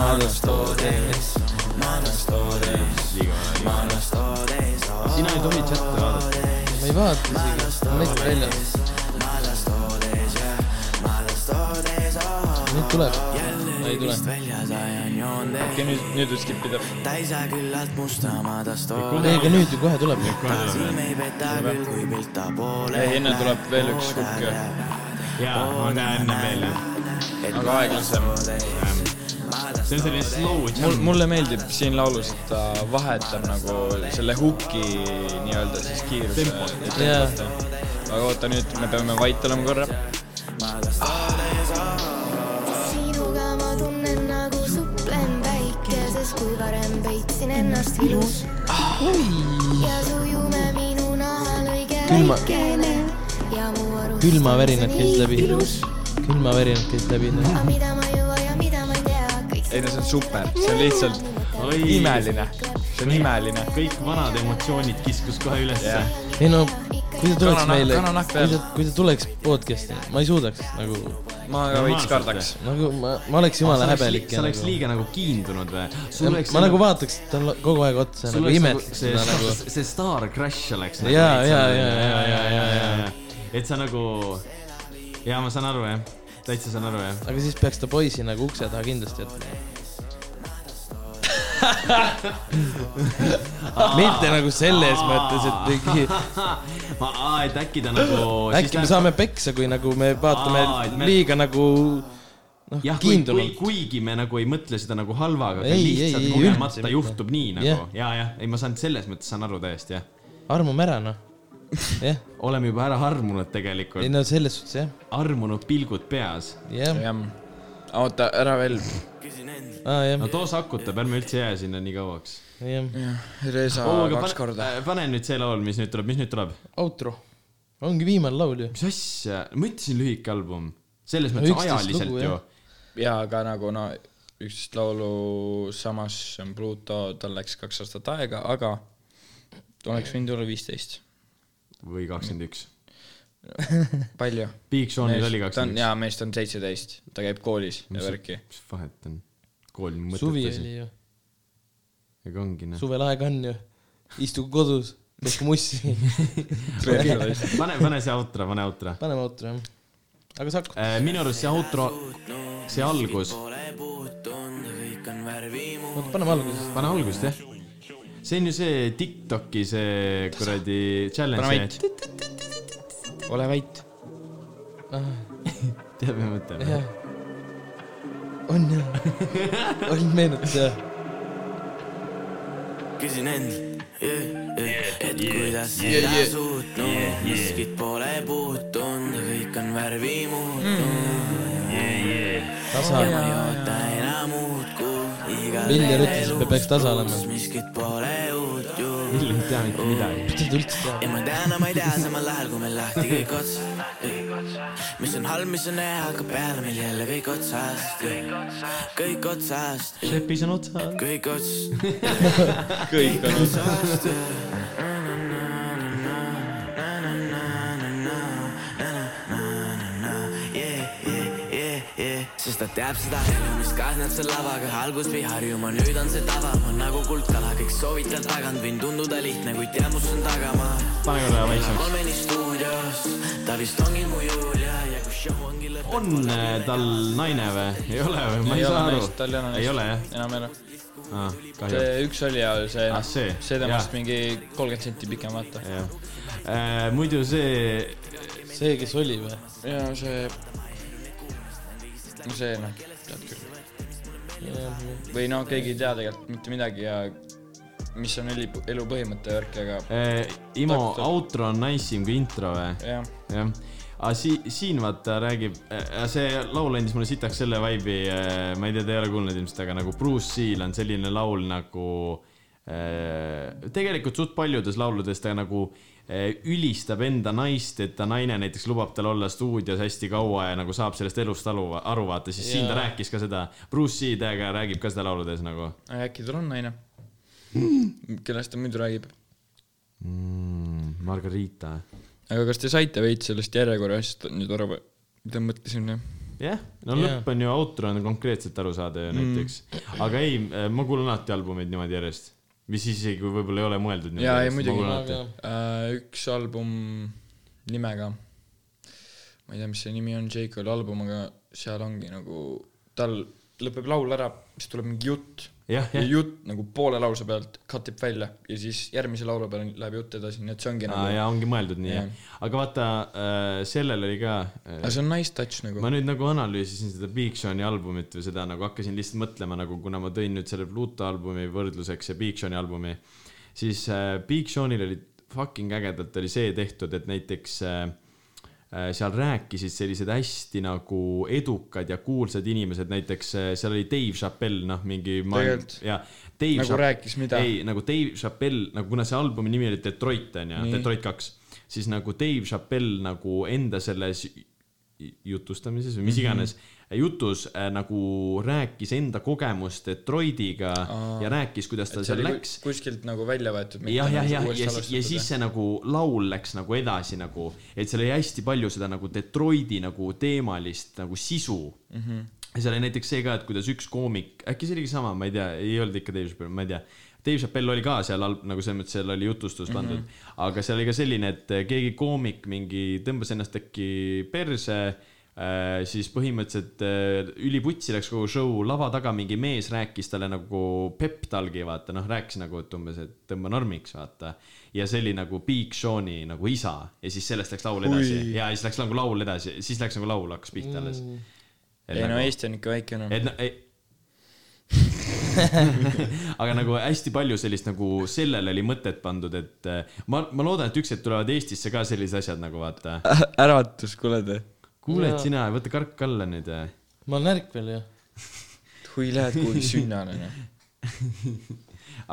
E: madas toodes , madas toodes , madas toodes ,
B: sina ei tohi chati vaadata .
F: ma ei vaata isegi , ma lihtsalt väljas .
E: madas toodes ja madas toodes ,
F: nüüd tuleb ,
E: jälle
F: ei tule.
E: rivist väljas ajan joonde ,
A: okei , nüüd , nüüd võib skip ida .
E: ta ei saa küllalt musta madas toodes ,
F: ei aga nüüd ju kohe tuleb .
E: silm ei peta küll , kui pilt ta poole
A: ei , enne tuleb veel üks hukk ju .
B: jaa , ma näen enne veel jah .
A: aga aeglasem .
B: see on selline slow
A: mul
B: jam ,.
A: mulle meeldib siin laulus , et ta vahetab nagu selle huki nii-öelda siis kiiruse .
F: jaa ,
A: aga oota nüüd , me peame vait olema korra .
H: sinuga ma tunnen nagu suplen päikeses , kui varem peitsin ennast ilus . ja su jume minu nahal õige
F: Külma-
H: väikene ja mu arust .
F: külmavärinad käisid läbi . külmavärinad käisid läbi .
H: aga mida ma ei jõua ja mida ma ei tea , kõik
A: ei no see on super , see on lihtsalt
B: oi ,
A: imeline , see on imeline .
B: kõik vanad emotsioonid kiskus kohe ülesse
A: jah
B: yeah. .,
F: ei no , kui ta tuleks
A: Kananahk-
F: meile ,
A: kananahk
F: kui
A: peal.
F: ta , kui ta tuleks podcast'i , ma ei suudaks nagu ,
A: ma ka veits kardaks .
F: nagu ma , ma oleks jumala häbelik .
B: sa oleks liiga nagu kiindunud või ?
F: ma nagu vaataks talle kogu aeg otsa , nagu imetleks
B: see
F: teda , nagu .
B: see Star Crash oleks .
F: Jaa, jaa, jaa, jaa, jaa, jaa,
B: ja . et sa nagu , jaa , ma saan aru jah , täitsa saan aru jah .
F: aga siis peaks ta poisi nagu ukse taha kindlasti jätma . mitte nagu selles mõttes , et mingi ,
B: ma , et äkki ta nagu .
F: äkki me saame peksa , kui nagu me vaatame
B: Aa, et me-
F: liiga nagu noh ,
B: jah , kui , kui ,
F: kiindunult .
B: kuigi me nagu ei mõtle seda nagu halvaga , aga
F: Ei,
B: lihtsalt
F: ei, ei, üldse
B: kogemata
F: mitte.
B: juhtub nii nagu
F: Jah.
B: yeah. ja , jah , ei , ma saan selles mõttes saan aru täiesti jah .
F: armume ära , noh . jah ,
B: oleme juba ära harmunud tegelikult
F: ei
B: no. ,
F: no selles suhtes jah ,
B: armunud pilgud peas .
F: jah ,
A: jah . oota , ära veel .
F: aa jah
B: no , too sakutab , ärme üldse jää sinna nii kauaks .
F: jah .
A: Reza kaks korda .
B: Oh, pane nüüd see laul , mis nüüd tuleb , mis nüüd tuleb ?
F: outro , ongi viimane laul ju .
B: mis asja , ma ütlesin lühike album , selles
F: No
B: mõttes no,
F: 11
B: ajaliselt
F: lugu,
B: lugu, ju
F: jah. .
A: ja aga nagu no üksteist laulu samas on Pluto , tal läks kaks aastat aega , aga oleks võinud olla viisteist .
B: või kakskümmend üks .
A: palju ?
B: Big Seanil oli kakskümmend
A: jaa , meest on seitseteist , ta käib koolis ja
B: üks .
A: värki .
B: mis vahet on ? kool
F: suvi
B: mõtetas ,
F: oli ju ,
B: ega ongi noh .
F: suvel aega on ju , istuge kodus , tehke mussi ,
B: pane , pane see outro , pane outro .
F: paneme outro jah . aga Saku ,
B: minu arust see outro , see algus ,
A: Äh.
F: oota paneme alguses .
B: pane algust jah . see on ju see Tiktoki see kuradi
A: pane
B: challenge ,
A: vait . ole vait .
B: tead mida ma mõtlen ?
F: jah . on jah , on meenutas jah ,
E: küsin endalt , et kuidas seda suutnud , miskit pole puutunud , kõik on värvi muutnud .
F: tasa ,
E: ma ei oota enam uut kuud , iga
F: Viljar ütles , et me peaks tasa olema .
E: miskit pole uut ju .
B: Vill ei tea mitte midagi .
F: mis te üldse teate ?
E: ja ma tean , ma ei tea samal ajal , kui meil lahti kõik otsas . mis on halb , mis on hea , hakkab peale meil jälle kõik otsast . kõik otsast ,
B: sepis on otsas .
E: kõik otsast .
A: kõik on
E: Kõik otsast . sest ta teab seda elu , mis kaasneb selle lavaga , algus või harjumaa , nüüd on see tava , on nagu kuldkala , kõik soovitajad tagant , võin tunduda lihtne , kuid tean , kus on tagamaa .
B: pane korra vaiksemaks .
E: kolmeni stuudios , ta vist ongi mu Julia ja kui show ongi lõpp .
B: on äh, tal naine või ? ei ole või ? ma ei, saa
A: tal ei
B: aru
A: ole .
B: ei ole jah ?
A: enam ei ole .
B: kahju .
A: see üks oli ja see
B: Ah, , see.
A: see temast
B: Jaa.
A: mingi kolmkümmend senti pikem , vaata .
B: jah . muidu see ,
F: see , kes oli või ?
A: ja see , see noh , tead küll . või noh , keegi ei tea tegelikult mitte midagi ja mis on elu , elu põhimõte ja värk , aga
B: äh, Imo
A: Doktor.
B: outro on nice im kui intro või ?
A: jah ,
B: jah , aga si- , siin vaata räägib , see laul andis mulle sitaks selle vibe'i , ma ei tea , te ei ole kuulnud ilmselt , aga nagu Bruce Seal on selline laul nagu äh, tegelikult suht paljudes lauludes ta nagu äh, ülistab enda naist , et ta naine näiteks lubab tal olla stuudios hästi kaua ja nagu saab sellest elust aru , aru vaata , siis siin ta
F: Jaa.
B: rääkis ka seda , Bruce Seal täiega räägib ka seda lauludes nagu .
A: äkki tal on naine , kellest ta muidu räägib .
B: Margarita ,
A: aga kas te saite veits sellest järjekorra asjast nüüd aru või ? mida ma mõtlesin , jah ?
B: jah , no
F: Jaa.
B: lõpp on ju , outro on konkreetselt aru saada ju näiteks mm. . aga ei , ma kuulan alati albumeid niimoodi järjest . mis siis isegi , kui võib-olla ei ole mõeldud niimoodi
A: Jaa, ei,
B: järjest, ma
A: muidugi.
B: kuulan
F: aga
B: alati.
A: Äh, üks album nimega , ma ei tea , mis see nimi on , J.Cole album , aga seal ongi nagu , tal lõpeb laul ära , siis tuleb mingi jutt
B: jah ,
A: ja
B: jah .
A: jutt nagu poole lause pealt cut ib välja ja siis järgmise laulu peale läheb jutt edasi , nii et see ongi nagu ,
B: ja ongi mõeldud nii
A: Jah.
B: jah . aga vaata äh, , sellel oli ka
A: aga
B: äh, ,
A: see on nice touch nagu
B: ma . nüüd nagu analüüsisin seda Big Sean'i albumit või seda nagu hakkasin lihtsalt mõtlema nagu , kuna ma tõin nüüd selle Pluto albumi võrdluseks ja Big Sean'i albumi , siis äh, Big Sean'il oli fucking ägedalt oli see tehtud , et näiteks äh, äh, seal rääkisid sellised hästi nagu edukad ja kuulsad inimesed , näiteks äh, seal oli Dave Chappelle , noh , mingi .
A: Tegelikult.
B: ja Dave
A: Nagu rääkis mida?
B: ei , nagu Dave Chappelle , nagu kuna see albumi nimi oli Detroit onju , Detroit kaks , siis nagu Dave Chappelle nagu enda selles jutustamises või
A: Mhm.
B: mis iganes jutus äh, nagu rääkis enda kogemust Detroitiga
A: Aa.
B: ja rääkis , kuidas tal
A: see
B: seal
A: oli
B: läks
A: ku- kuskilt nagu välja võetud .
B: jah , jah , jah , ja, si- ja siis see nagu laul läks nagu edasi nagu , et seal oli hästi palju seda nagu Detroiti nagu teemalist nagu sisu mm . -hmm. ja seal oli näiteks see ka , et kuidas üks koomik , äkki see oligi sama , ma ei tea , ei olnud ikka Dave Chappelle , ma ei tea . Dave Chappelle oli ka seal all- nagu selles mõttes , seal oli jutustus pandud mm , -hmm. aga seal oli ka selline , et keegi koomik mingi tõmbas ennast äkki perse Äh, siis põhimõtteliselt äh, üliputsi läks kogu show , lava taga mingi mees rääkis talle nagu pep talgi , vaata noh , rääkis nagu , et umbes , et tõmba normiks , vaata . ja see oli nagu Big Sean'i nagu isa ja siis sellest läks laul edasi
A: Ui.
B: ja siis läks nagu laul edasi , siis läks nagu laul hakkas pihta alles .
A: ei no Eesti on ikka noh. väikene .
B: et no ei aga nagu hästi palju sellist nagu sellele oli mõtet pandud , et äh, ma , ma loodan , et üks hetk tulevad Eestisse ka sellised asjad nagu vaata .
A: äratus , kuuled või ?
B: kuuled
F: Jaa.
B: sina , võta kark alla nüüd äh. ja
F: ma olen ärk veel ju .
A: kui lähed kuhugi sünnale , noh .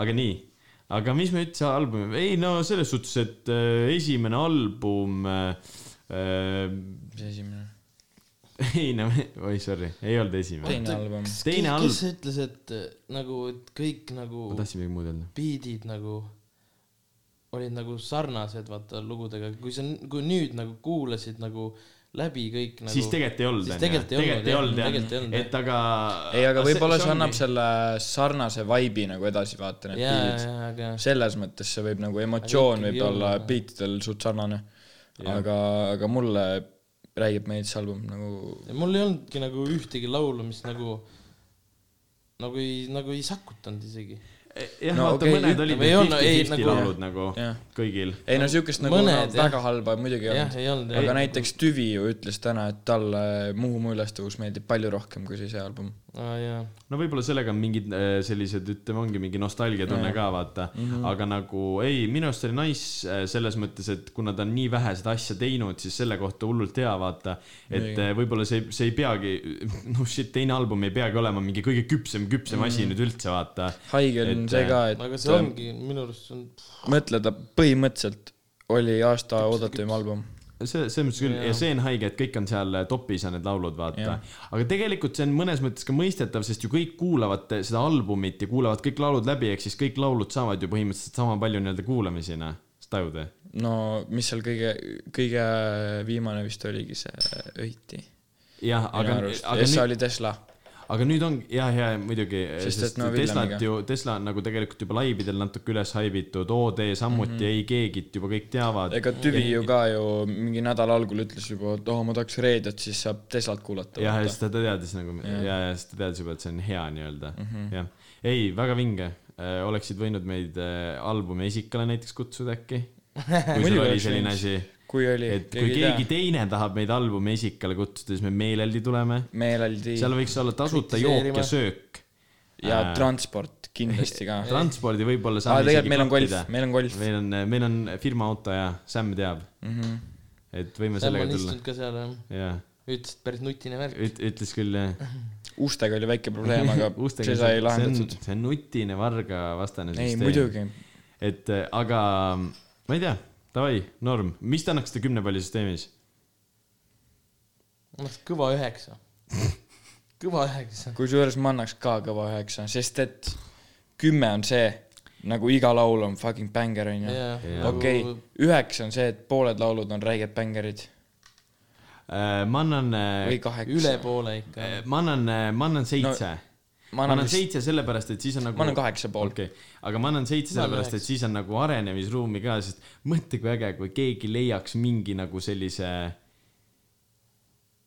B: aga nii , aga mis me üldse albumi , ei no selles suhtes , et äh, esimene album äh, ,
A: mis esimene ?
B: ei no , oi sorry , ei olnud esimene .
A: teine album .
F: kes
B: Teine halb-
F: kes ütles , et äh, nagu , et kõik nagu
B: ma tahtsin midagi muud öelda .
F: biidid nagu olid nagu sarnased vaata lugudega , kui sa , kui nüüd nagu kuulasid nagu läbi kõik nagu
B: siis tegelikult ei olnud .
F: siis tegelikult ei olnud, jah,
B: tegelikult
F: tegelikult
B: ei
F: ei olnud,
B: olnud jah , et aga .
A: ei , aga võib-olla see annab . selle sarnase vibe'i nagu edasi , vaata need
F: jaa ,
A: piirid .
F: jaa , aga
A: selles mõttes see võib nagu emotsioon
F: Aga ikkagi
A: võib olla
F: olla.
A: beatidel suht sarnane . aga , aga mulle räägib meid see album nagu
F: Ja mul ei olnudki nagu ühtegi laulu , mis nagu , nagu ei , nagu ei sakutanud isegi .
B: eh, jah ,
A: No
B: vaata
A: okei,
B: mõned
A: ütleme,
B: olid
F: ei olnud, ei,
B: need 50-50
F: nagu-
B: laulud nagu
A: jah .
B: kõigil .
A: ei no siukest nagu
F: Mõned,
A: no, väga halba muidugi ei
F: jah ,
A: olnud .
F: ei olnud
A: aga
F: jah .
A: näiteks Tüvi ju ütles täna , et talle Muhumaa ülestavus meeldib palju rohkem kui see see album .
F: aa jaa .
B: no võib-olla sellega on mingid äh, sellised , ütleme , ongi mingi nostalgia tunne ka vaata mm , -hmm. aga nagu ei , minu arust oli nice äh, selles mõttes , et kuna ta on nii vähe seda asja teinud , siis selle kohta hullult hea vaata , et
A: Muidugi.
B: äh, võib-olla see , see ei peagi , no shit , teine album ei peagi olema mingi kõige küpsem , küpsem mm -hmm. asi nüüd üldse vaata .
A: haige on
B: Et,
A: see ka ,
F: aga
A: et
F: see ongi minu arust see on ,
A: mõtle , ta põhimõtteliselt oli aasta oodatuim album .
B: see , selles mõttes küll , ja see on haige , et kõik on seal äh, topis ja need laulud , vaata . aga tegelikult see on mõnes mõttes ka mõistetav , sest ju kõik kuulavad äh, seda albumit ja kuulavad kõik laulud läbi , ehk siis kõik laulud saavad ju põhimõtteliselt sama palju nii-öelda kuulamisi , noh . sa tajud või ?
A: no mis seal kõige , kõige viimane vist oligi see äh, Öiti .
B: jah , aga ,
A: ja
B: aga
A: see
B: nüüd ,
A: oli Tesla .
B: aga nüüd ongi , ja , ja muidugi ,
A: Sest
B: sest,
A: et
B: sest
A: no
B: no,
A: Villemiga.
B: Teslat ju , Tesla on nagu tegelikult juba laividel natuke üles haibitud , OD samuti
A: Mhm.
B: mm , -hmm. ei keegit juba kõik teavad .
A: ega Tüvi ju ka ju mingi nädala algul ütles juba , et oh , ma tahaks reedet , siis saab Teslat kuulata .
B: jah , ja siis ta ta teadis nagu ja , ja siis ta teadis juba , et see on hea nii-öelda mm
A: Mhm.
B: -hmm. , jah . ei , väga vinge , oleksid võinud meid äh, albumi esikale näiteks kutsuda äkki . kui sul
A: Muidugi
B: oli
A: oleks
B: selline
A: võinud.
B: asi ,
A: kui oli ,
B: et kui keegi teine tahab meid albumi esikale kutsuda , siis me meeleldi tuleme .
A: meeleldi
B: seal võiks olla tasuta jook
F: Kritiseerima.
B: ja söök .
A: ja transport kindlasti ka .
B: transpordi võib-olla
A: aa ,
B: saame
A: tegelikult meil on golf , meil on golf . Mhm.
B: meil on , meil on firma auto ja Sam teab , et võime
F: Sam
B: sellega
F: on
B: tulla
F: istunud , ka seal jah .
B: jah .
F: ütles , et päris nutine värk .
B: üt- , ütles küll jah
A: ustega oli väike probleem , aga
B: Ustega
A: see sai lahendatud
B: see on- . see on nutine varga vastane
A: ei , muidugi .
B: et äh, aga ma ei tea , davai , norm , mis te annaksite kümne palli süsteemis ?
F: annaks kõva üheksa . kõva üheksa .
A: kusjuures ma annaks ka kõva üheksa , sest et kümme on see , nagu iga laul on fucking bängar , onju .
F: jaa . nagu
B: Nagu
A: okei , üheksa on see , et pooled laulud on räiged bängarid
B: Äh, ma annan ,
A: või kaheksa
F: üle . poole ikka .
B: Eh, ma annan , ma annan seitse no, .
A: ma
B: ma
A: annan
B: annan
A: vist ,
B: seitse sellepärast , et siis on nagu .
A: ma annan kaheksa pool .
B: okei okay. , aga ma annan seitse
F: Ma annan
B: sellepärast , et
F: üheksa.
B: siis on nagu arenemisruumi ka , sest mõtle , kui äge , kui keegi leiaks mingi nagu sellise .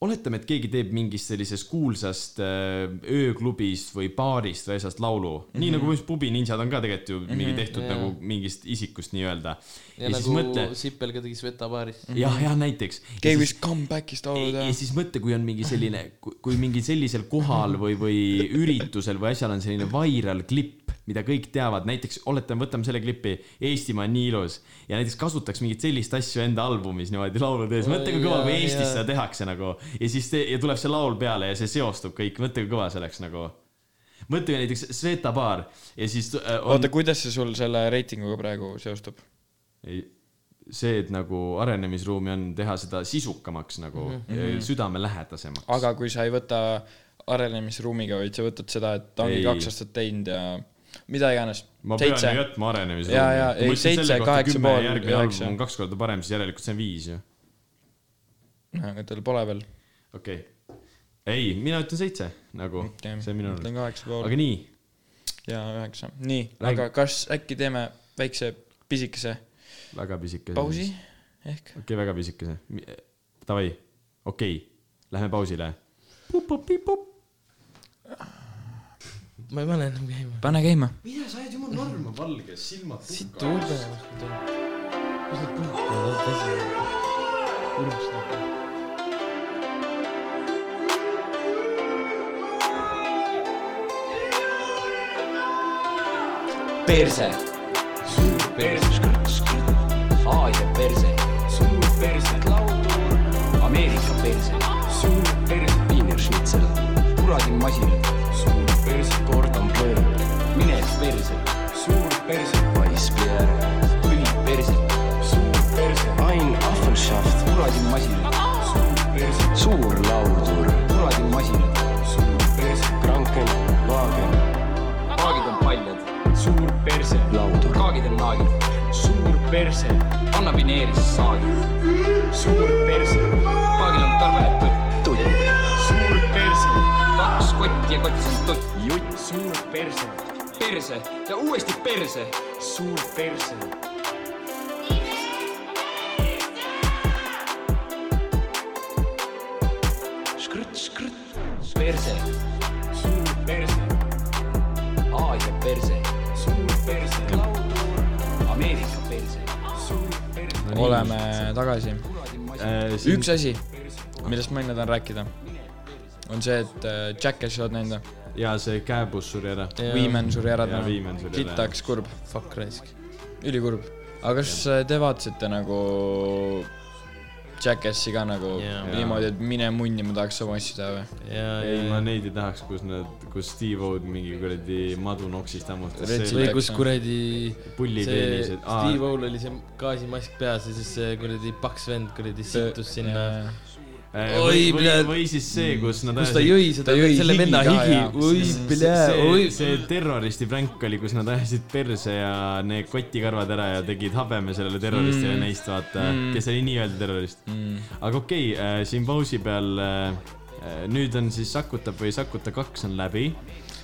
B: oletame , et keegi teeb mingist sellisest kuulsast äh, ööklubist või baarist või asjast laulu mm , -hmm. nii
A: Mhm.
B: nagu just Pubi ninjad on ka tegelikult ju mm -hmm. mingi tehtud yeah.
F: jaa.
B: nagu mingist isikust nii-öelda .
F: ja nagu mõtle. Sipel ka tegi Sveta baaris .
B: jah , jah , näiteks .
A: Mhm. keegi võiks comeback'ist laulu
B: ja
A: teha .
B: siis mõtle , kui on mingi selline , kui mingi sellisel kohal või , või üritusel või asjal on selline viral klipp , mida kõik teavad , näiteks oletame , võtame selle klipi Eestimaa on nii ilus ja näiteks kasutaks mingit sellist asja enda albumis niimoodi laulude ees , mõtle kui kõva , kui
F: Jaa,
B: Eestis
F: jaa.
B: seda tehakse nagu ja siis te, ja tuleb see laul peale ja see seostub kõik , mõtle kui kõva see oleks nagu . mõtle kui näiteks Sveta baar ja siis äh, on...
A: oota , kuidas see sul selle reitinguga praegu seostub ?
B: Ei, see , et nagu arenemisruumi on teha seda sisukamaks nagu mm
F: Mhm.
B: -hmm. südamelähedasemaks .
A: aga kui sa ei võta arenemisruumiga , vaid sa võtad seda , et ta ongi
B: Ei.
A: kaks aastat teinud ja mida iganes .
B: ma pean ju
A: seitse ,
B: jätma arenemise
A: Jaa, jaa, ei, seitse, kaheksa pool,
B: järgmine
A: üheksa.
B: album on kaks korda parem , siis järelikult see on viis ju .
A: Noh, aga tal pole veel .
B: okei okay. . ei , mina ütlen seitse nagu , see on minu arvamus .
A: ütlen kaheksa pool
B: aga nii ,
A: ja üheksa , nii ,
B: Räägi-
A: aga kas äkki teeme väikse pisikese
B: väga pisikese .
A: pausi ehk ?
B: okei okay, , väga pisikese . Davai , okei okay. , lähme pausile .
F: ma ei pane enam käima .
A: pane käima .
B: mine sa oled jumal norma valge , silmad
F: siit juurde enam ei tule . mis need puhkavad on tõsi ? kurb seda .
D: perse . suur perse . Aasia perse . suur perse . Ameerika perse . suur perse . Wienerschnitzel . kuradi masin . suur perse . Gordon Bleu . mine perse . suur perse . Weissbier . tüli perse . suur perse . Ein Apfelschaft . kuradi masin . suur perse . suur laudur . kuradi masin . suur perse . Kranken . Waagen . kaagid on paljad . suur perse . laudur . kaagid on naagid . suur perse . anna Vineeris saagi . suur perse . kaagil on tarve tutt . tutt . suur perse . kaks kotti ja kotis on tutt . jutt . suur perse . perse ja uuesti perse . suur perse . skrt , skrt . perse . suur perse Aasia perse , suur perse , Ameerika perse , suur perse .
A: oleme tagasi .
B: Eh,
A: üks asi , millest ma enne tahan rääkida , on see , et äh, Jackass oled näinud või ?
B: ja see käebuss suri ära .
A: Weeman suri ära
B: Jaa, Weeman suri ära.
A: sitaks kurb ,
F: Fuck raisk .
A: ülikurb . aga kas äh, te vaatasite nagu Jackassi ka nagu
F: Jaa.
A: niimoodi , et mine munni , ma tahaks sama asja teha või ?
F: ja ,
B: ei , ma
F: ja ,
B: neid ei tahaks , kus nad , kus Steve O'd mingi kuradi madunoksist hammustas .
A: Retsi-
F: või kus kuradi see
B: pullipeenised .
F: Steve O'l oli see gaasimask peas ja siis see kuradi paks vend kuradi sittus sinna . Oi,
B: Eh, või , või,
F: bled.
B: või siis see , kus nad
F: kus ta jõi seda ,
A: jõi
F: selle
A: higi
F: venna
A: ka
F: higi
A: ja- .
F: oi ,
B: see ,
F: oi ,
B: see terroristi pränk oli , kus nad ajasid perse ja need kotikarvad ära ja tegid habeme sellele terroristile mm. neist , vaata mm. , kes oli nii-öelda terrorist mm. . aga okei okay, , siin pausi peal äh, nüüd on siis Sakuta või Sakuta kaks on läbi .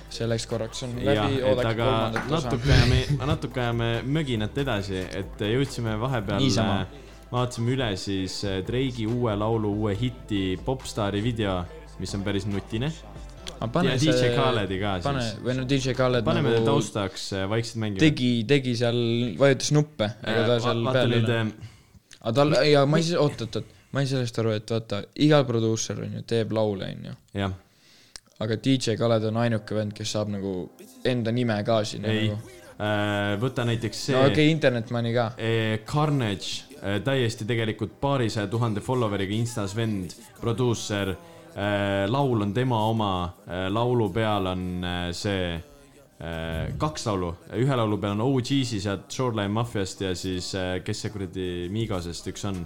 A: selleks korraks on
B: jah ,
A: läbi ,
B: et
A: oodake
B: aga
A: kolmandat osa .
B: natuke ajame , natuke ajame möginat edasi , et äh, jõudsime vahepeal äh,
A: Niisama. ,
B: vaatasime üle siis äh, Drake'i uue laulu , uue hiti Popstaari video , mis on päris nutine . ja DJ Khaledi ka
A: pane
B: siis ,.
A: või no DJ Khaled
B: paneme nagu...
A: nagu
B: taustaks äh, vaikselt mängima .
A: tegi , tegi seal , vajutas nuppe , ega ta seal
B: Äh, vaata
A: peal ei
B: nüüd ähm,
A: ole ., aga tal , ja ma ei , oot-oot-oot , ma ei sellest aru , et vaata , iga produusser on ju , teeb laule , on ju .
B: jah ,
A: aga DJ Khaled on ainuke vend , kes saab nagu enda nime ka sinna
B: ei
A: nagu .
B: Äh, võta näiteks see
A: no okei
B: okay.
A: okay, , Internetmani ka .
B: Eh, Carnage , täiesti tegelikult paarisaja tuhande follower'iga Instas vend , produusser , laul on tema oma , laulu peal on äh, see , kaks laulu , ühe laulu peal on OG-si sealt Shoreline Maffiast ja siis äh, kes see kuradi Migosest üks on ,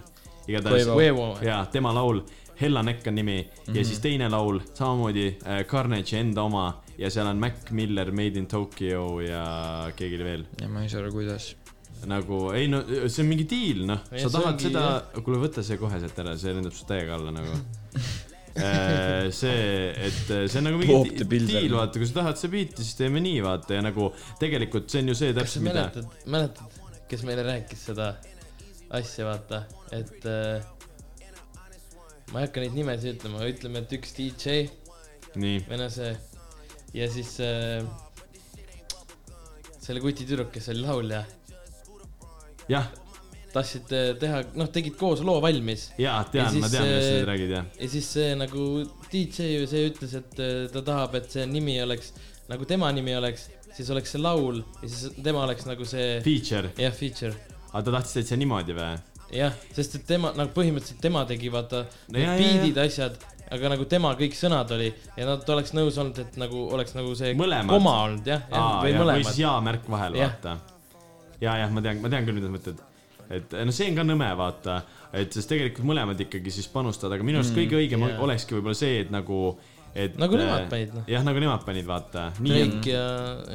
B: igatahes
A: Quavo.
F: Quavo.
B: jaa , tema laul , Hella Neck on nimi mm -hmm. ja siis teine laul samamoodi äh, Carnage'i enda oma ja seal on Mac Miller , Made in Tokyo ja keegi oli veel .
A: ja ma ei saa aru , kuidas .
B: nagu ei no see on mingi diil noh ,
F: Ei,
B: sa
F: see
B: tahad
F: ongi,
B: seda , kuule võta see kohe sealt ära , see lendab su täiega alla nagu Äh, see , et äh, see on nagu
A: Poob
B: mingi
A: te
B: di-
A: pildi
B: diil ,
A: alla.
B: vaata , kui sa tahad seda biiti , siis teeme nii , vaata ja nagu tegelikult see on ju see
F: kas sa
B: täpselt , mida
F: mäletad , mäletad , kes meile rääkis seda asja , vaata , et äh, ma ei hakka neid nimesid ütlema , ütleme , et üks DJ ,
B: nii ,
F: venelase ja siis äh, selle kuti tüdruk , kes oli laulja ,
B: jah ,
F: tahtsid äh, teha , noh , tegid koos loo valmis
B: jaa , tean ,
F: siis,
B: ma tean , millest sa
F: äh,
B: nüüd räägid , jah .
F: ja siis see nagu DJ ju see ütles , et äh, ta tahab , et see nimi oleks nagu tema nimi oleks , siis oleks see laul ja siis tema oleks nagu see
B: Feature ,
F: jah , feature
B: aga ta tahtis täitsa niimoodi või ?
F: jah , sest et tema nagu põhimõtteliselt tema tegi vaata
B: No
F: need
B: jaa, jaa,
F: beat'id , asjad , aga nagu tema kõik sõnad oli ja nad oleks nõus olnud , et nagu oleks nagu see
B: Mõlemad.
F: koma olnud jah , jah ,
B: Aa,
F: või
B: jah, või
F: mõlemad
B: siis . jaa märk vahel ,
F: Jah.
B: vaata . ja , jah , ma tean , ma tean küll , mida sa mõtled . et no see on ka nõme , vaata , et sest tegelikult mõlemad ikkagi siis panustavad , aga minu arust kõige õigem
F: Mm, jaa.
B: yeah. olekski võib-olla see , et nagu , et .
F: Nagu nemad panid, noh.
B: jah , nagu nemad panid , vaata . nii on ,
F: Drake ja ,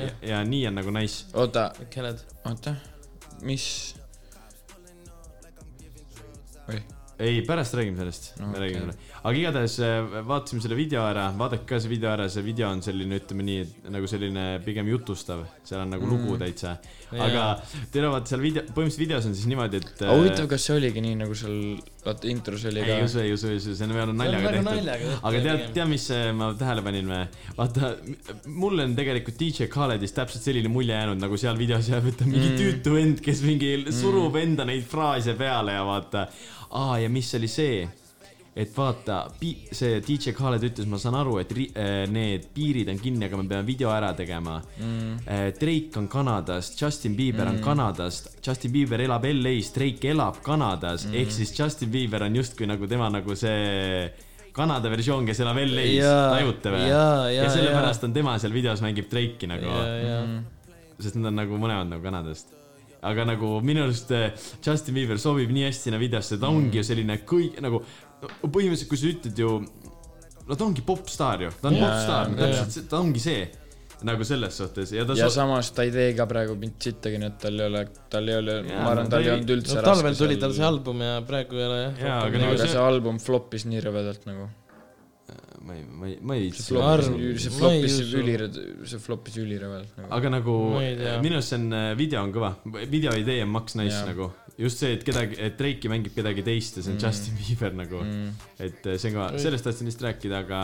F: jah ,
B: ja nii on nagu nice .
A: oota ,
F: Kenned .
A: oota , mis ?
B: ei , pärast räägime sellest no, ,
A: okei.
B: me okay. räägime sellest . aga igatahes äh, vaatasime selle video ära , vaadake ka see video ära , see video on selline , ütleme nii , et nagu selline pigem jutustav , seal on nagu mm. lugu täitsa . aga teil on vaata seal video , põhimõtteliselt videos on siis niimoodi , et .
A: aga huvitav , kas see oligi nii , nagu seal , vaata intros oli
B: ei
A: ka .
B: usu , ei usu , ei usu , see on veel on naljaga
F: väga
B: tehtud
F: naljaga tehtud, .
B: aga tead
F: pigem. ,
B: tead , mis äh, ma tähele panin või ? vaata , mul on tegelikult DJ Khaledist täpselt selline mulje jäänud , nagu seal videos jääb , et ta on mingi tüütu vend , kes mingi surub enda neid fraase peale ja vaata . aa , ja mis oli see ? et vaata , see DJ Khaled ütles , ma saan aru , et ri- äh, need piirid on kinni , aga me peame video ära tegema mm. . Drake on Kanadast , Justin Bieber mm. on Kanadast , Justin Bieber elab LA-s , Drake elab Kanadas mm. , ehk siis Justin Bieber on justkui nagu tema nagu see Kanada versioon , kes elab LA-s ,
F: Jaa,
B: tajute või ?
F: jaa, jaa,
B: ja sellepärast on tema seal videos mängib Drake'i nagu
F: ja , ja ,
B: sest nad on nagu mõlemad nagu Kanadast . aga nagu minu arust eh, Justin Bieber sobib nii hästi sinna videosse , ta ongi ju selline kõik nagu , põhimõtteliselt kui sa ütled ju , no ta ongi popstaar ju , ta on
A: Jaa,
B: popstaar ,
A: jaa,
B: täpselt see- ta ongi see nagu selles suhtes ja ta
A: ja
B: so- ,
A: samas ta ei tee ka praegu mind sittagi , nii et tal ei ole , tal ei ole ,
B: Jaa,
A: ma arvan ,
B: no
A: tal
B: ta
A: ei
B: ei-
A: olnud üldse
F: no
A: raske .
F: talvel tuli tal see . album ja praegu ei ole jah .
B: jaa , aga
A: aga
B: nagu
A: see
B: see ,
A: album flop'is nii rõvedalt nagu .
B: ma ei , ma ei , ma ei viitsi
F: Ma
A: flop'is
F: arvan- ,
A: see
F: ma ei
A: flop'is
F: usu.
A: ülirõd- , see flop'is ülirõvedalt nagu .
B: aga nagu
F: Ma ei tea.
B: minu arust see on , video on kõva , video idee on maks nice
A: Jaa.
B: nagu , just see , et kedagi , et Drake'i mängib kedagi teist ja see on mm. Justin Bieber nagu mm. , et see on kõva , sellest tahtsin vist rääkida , aga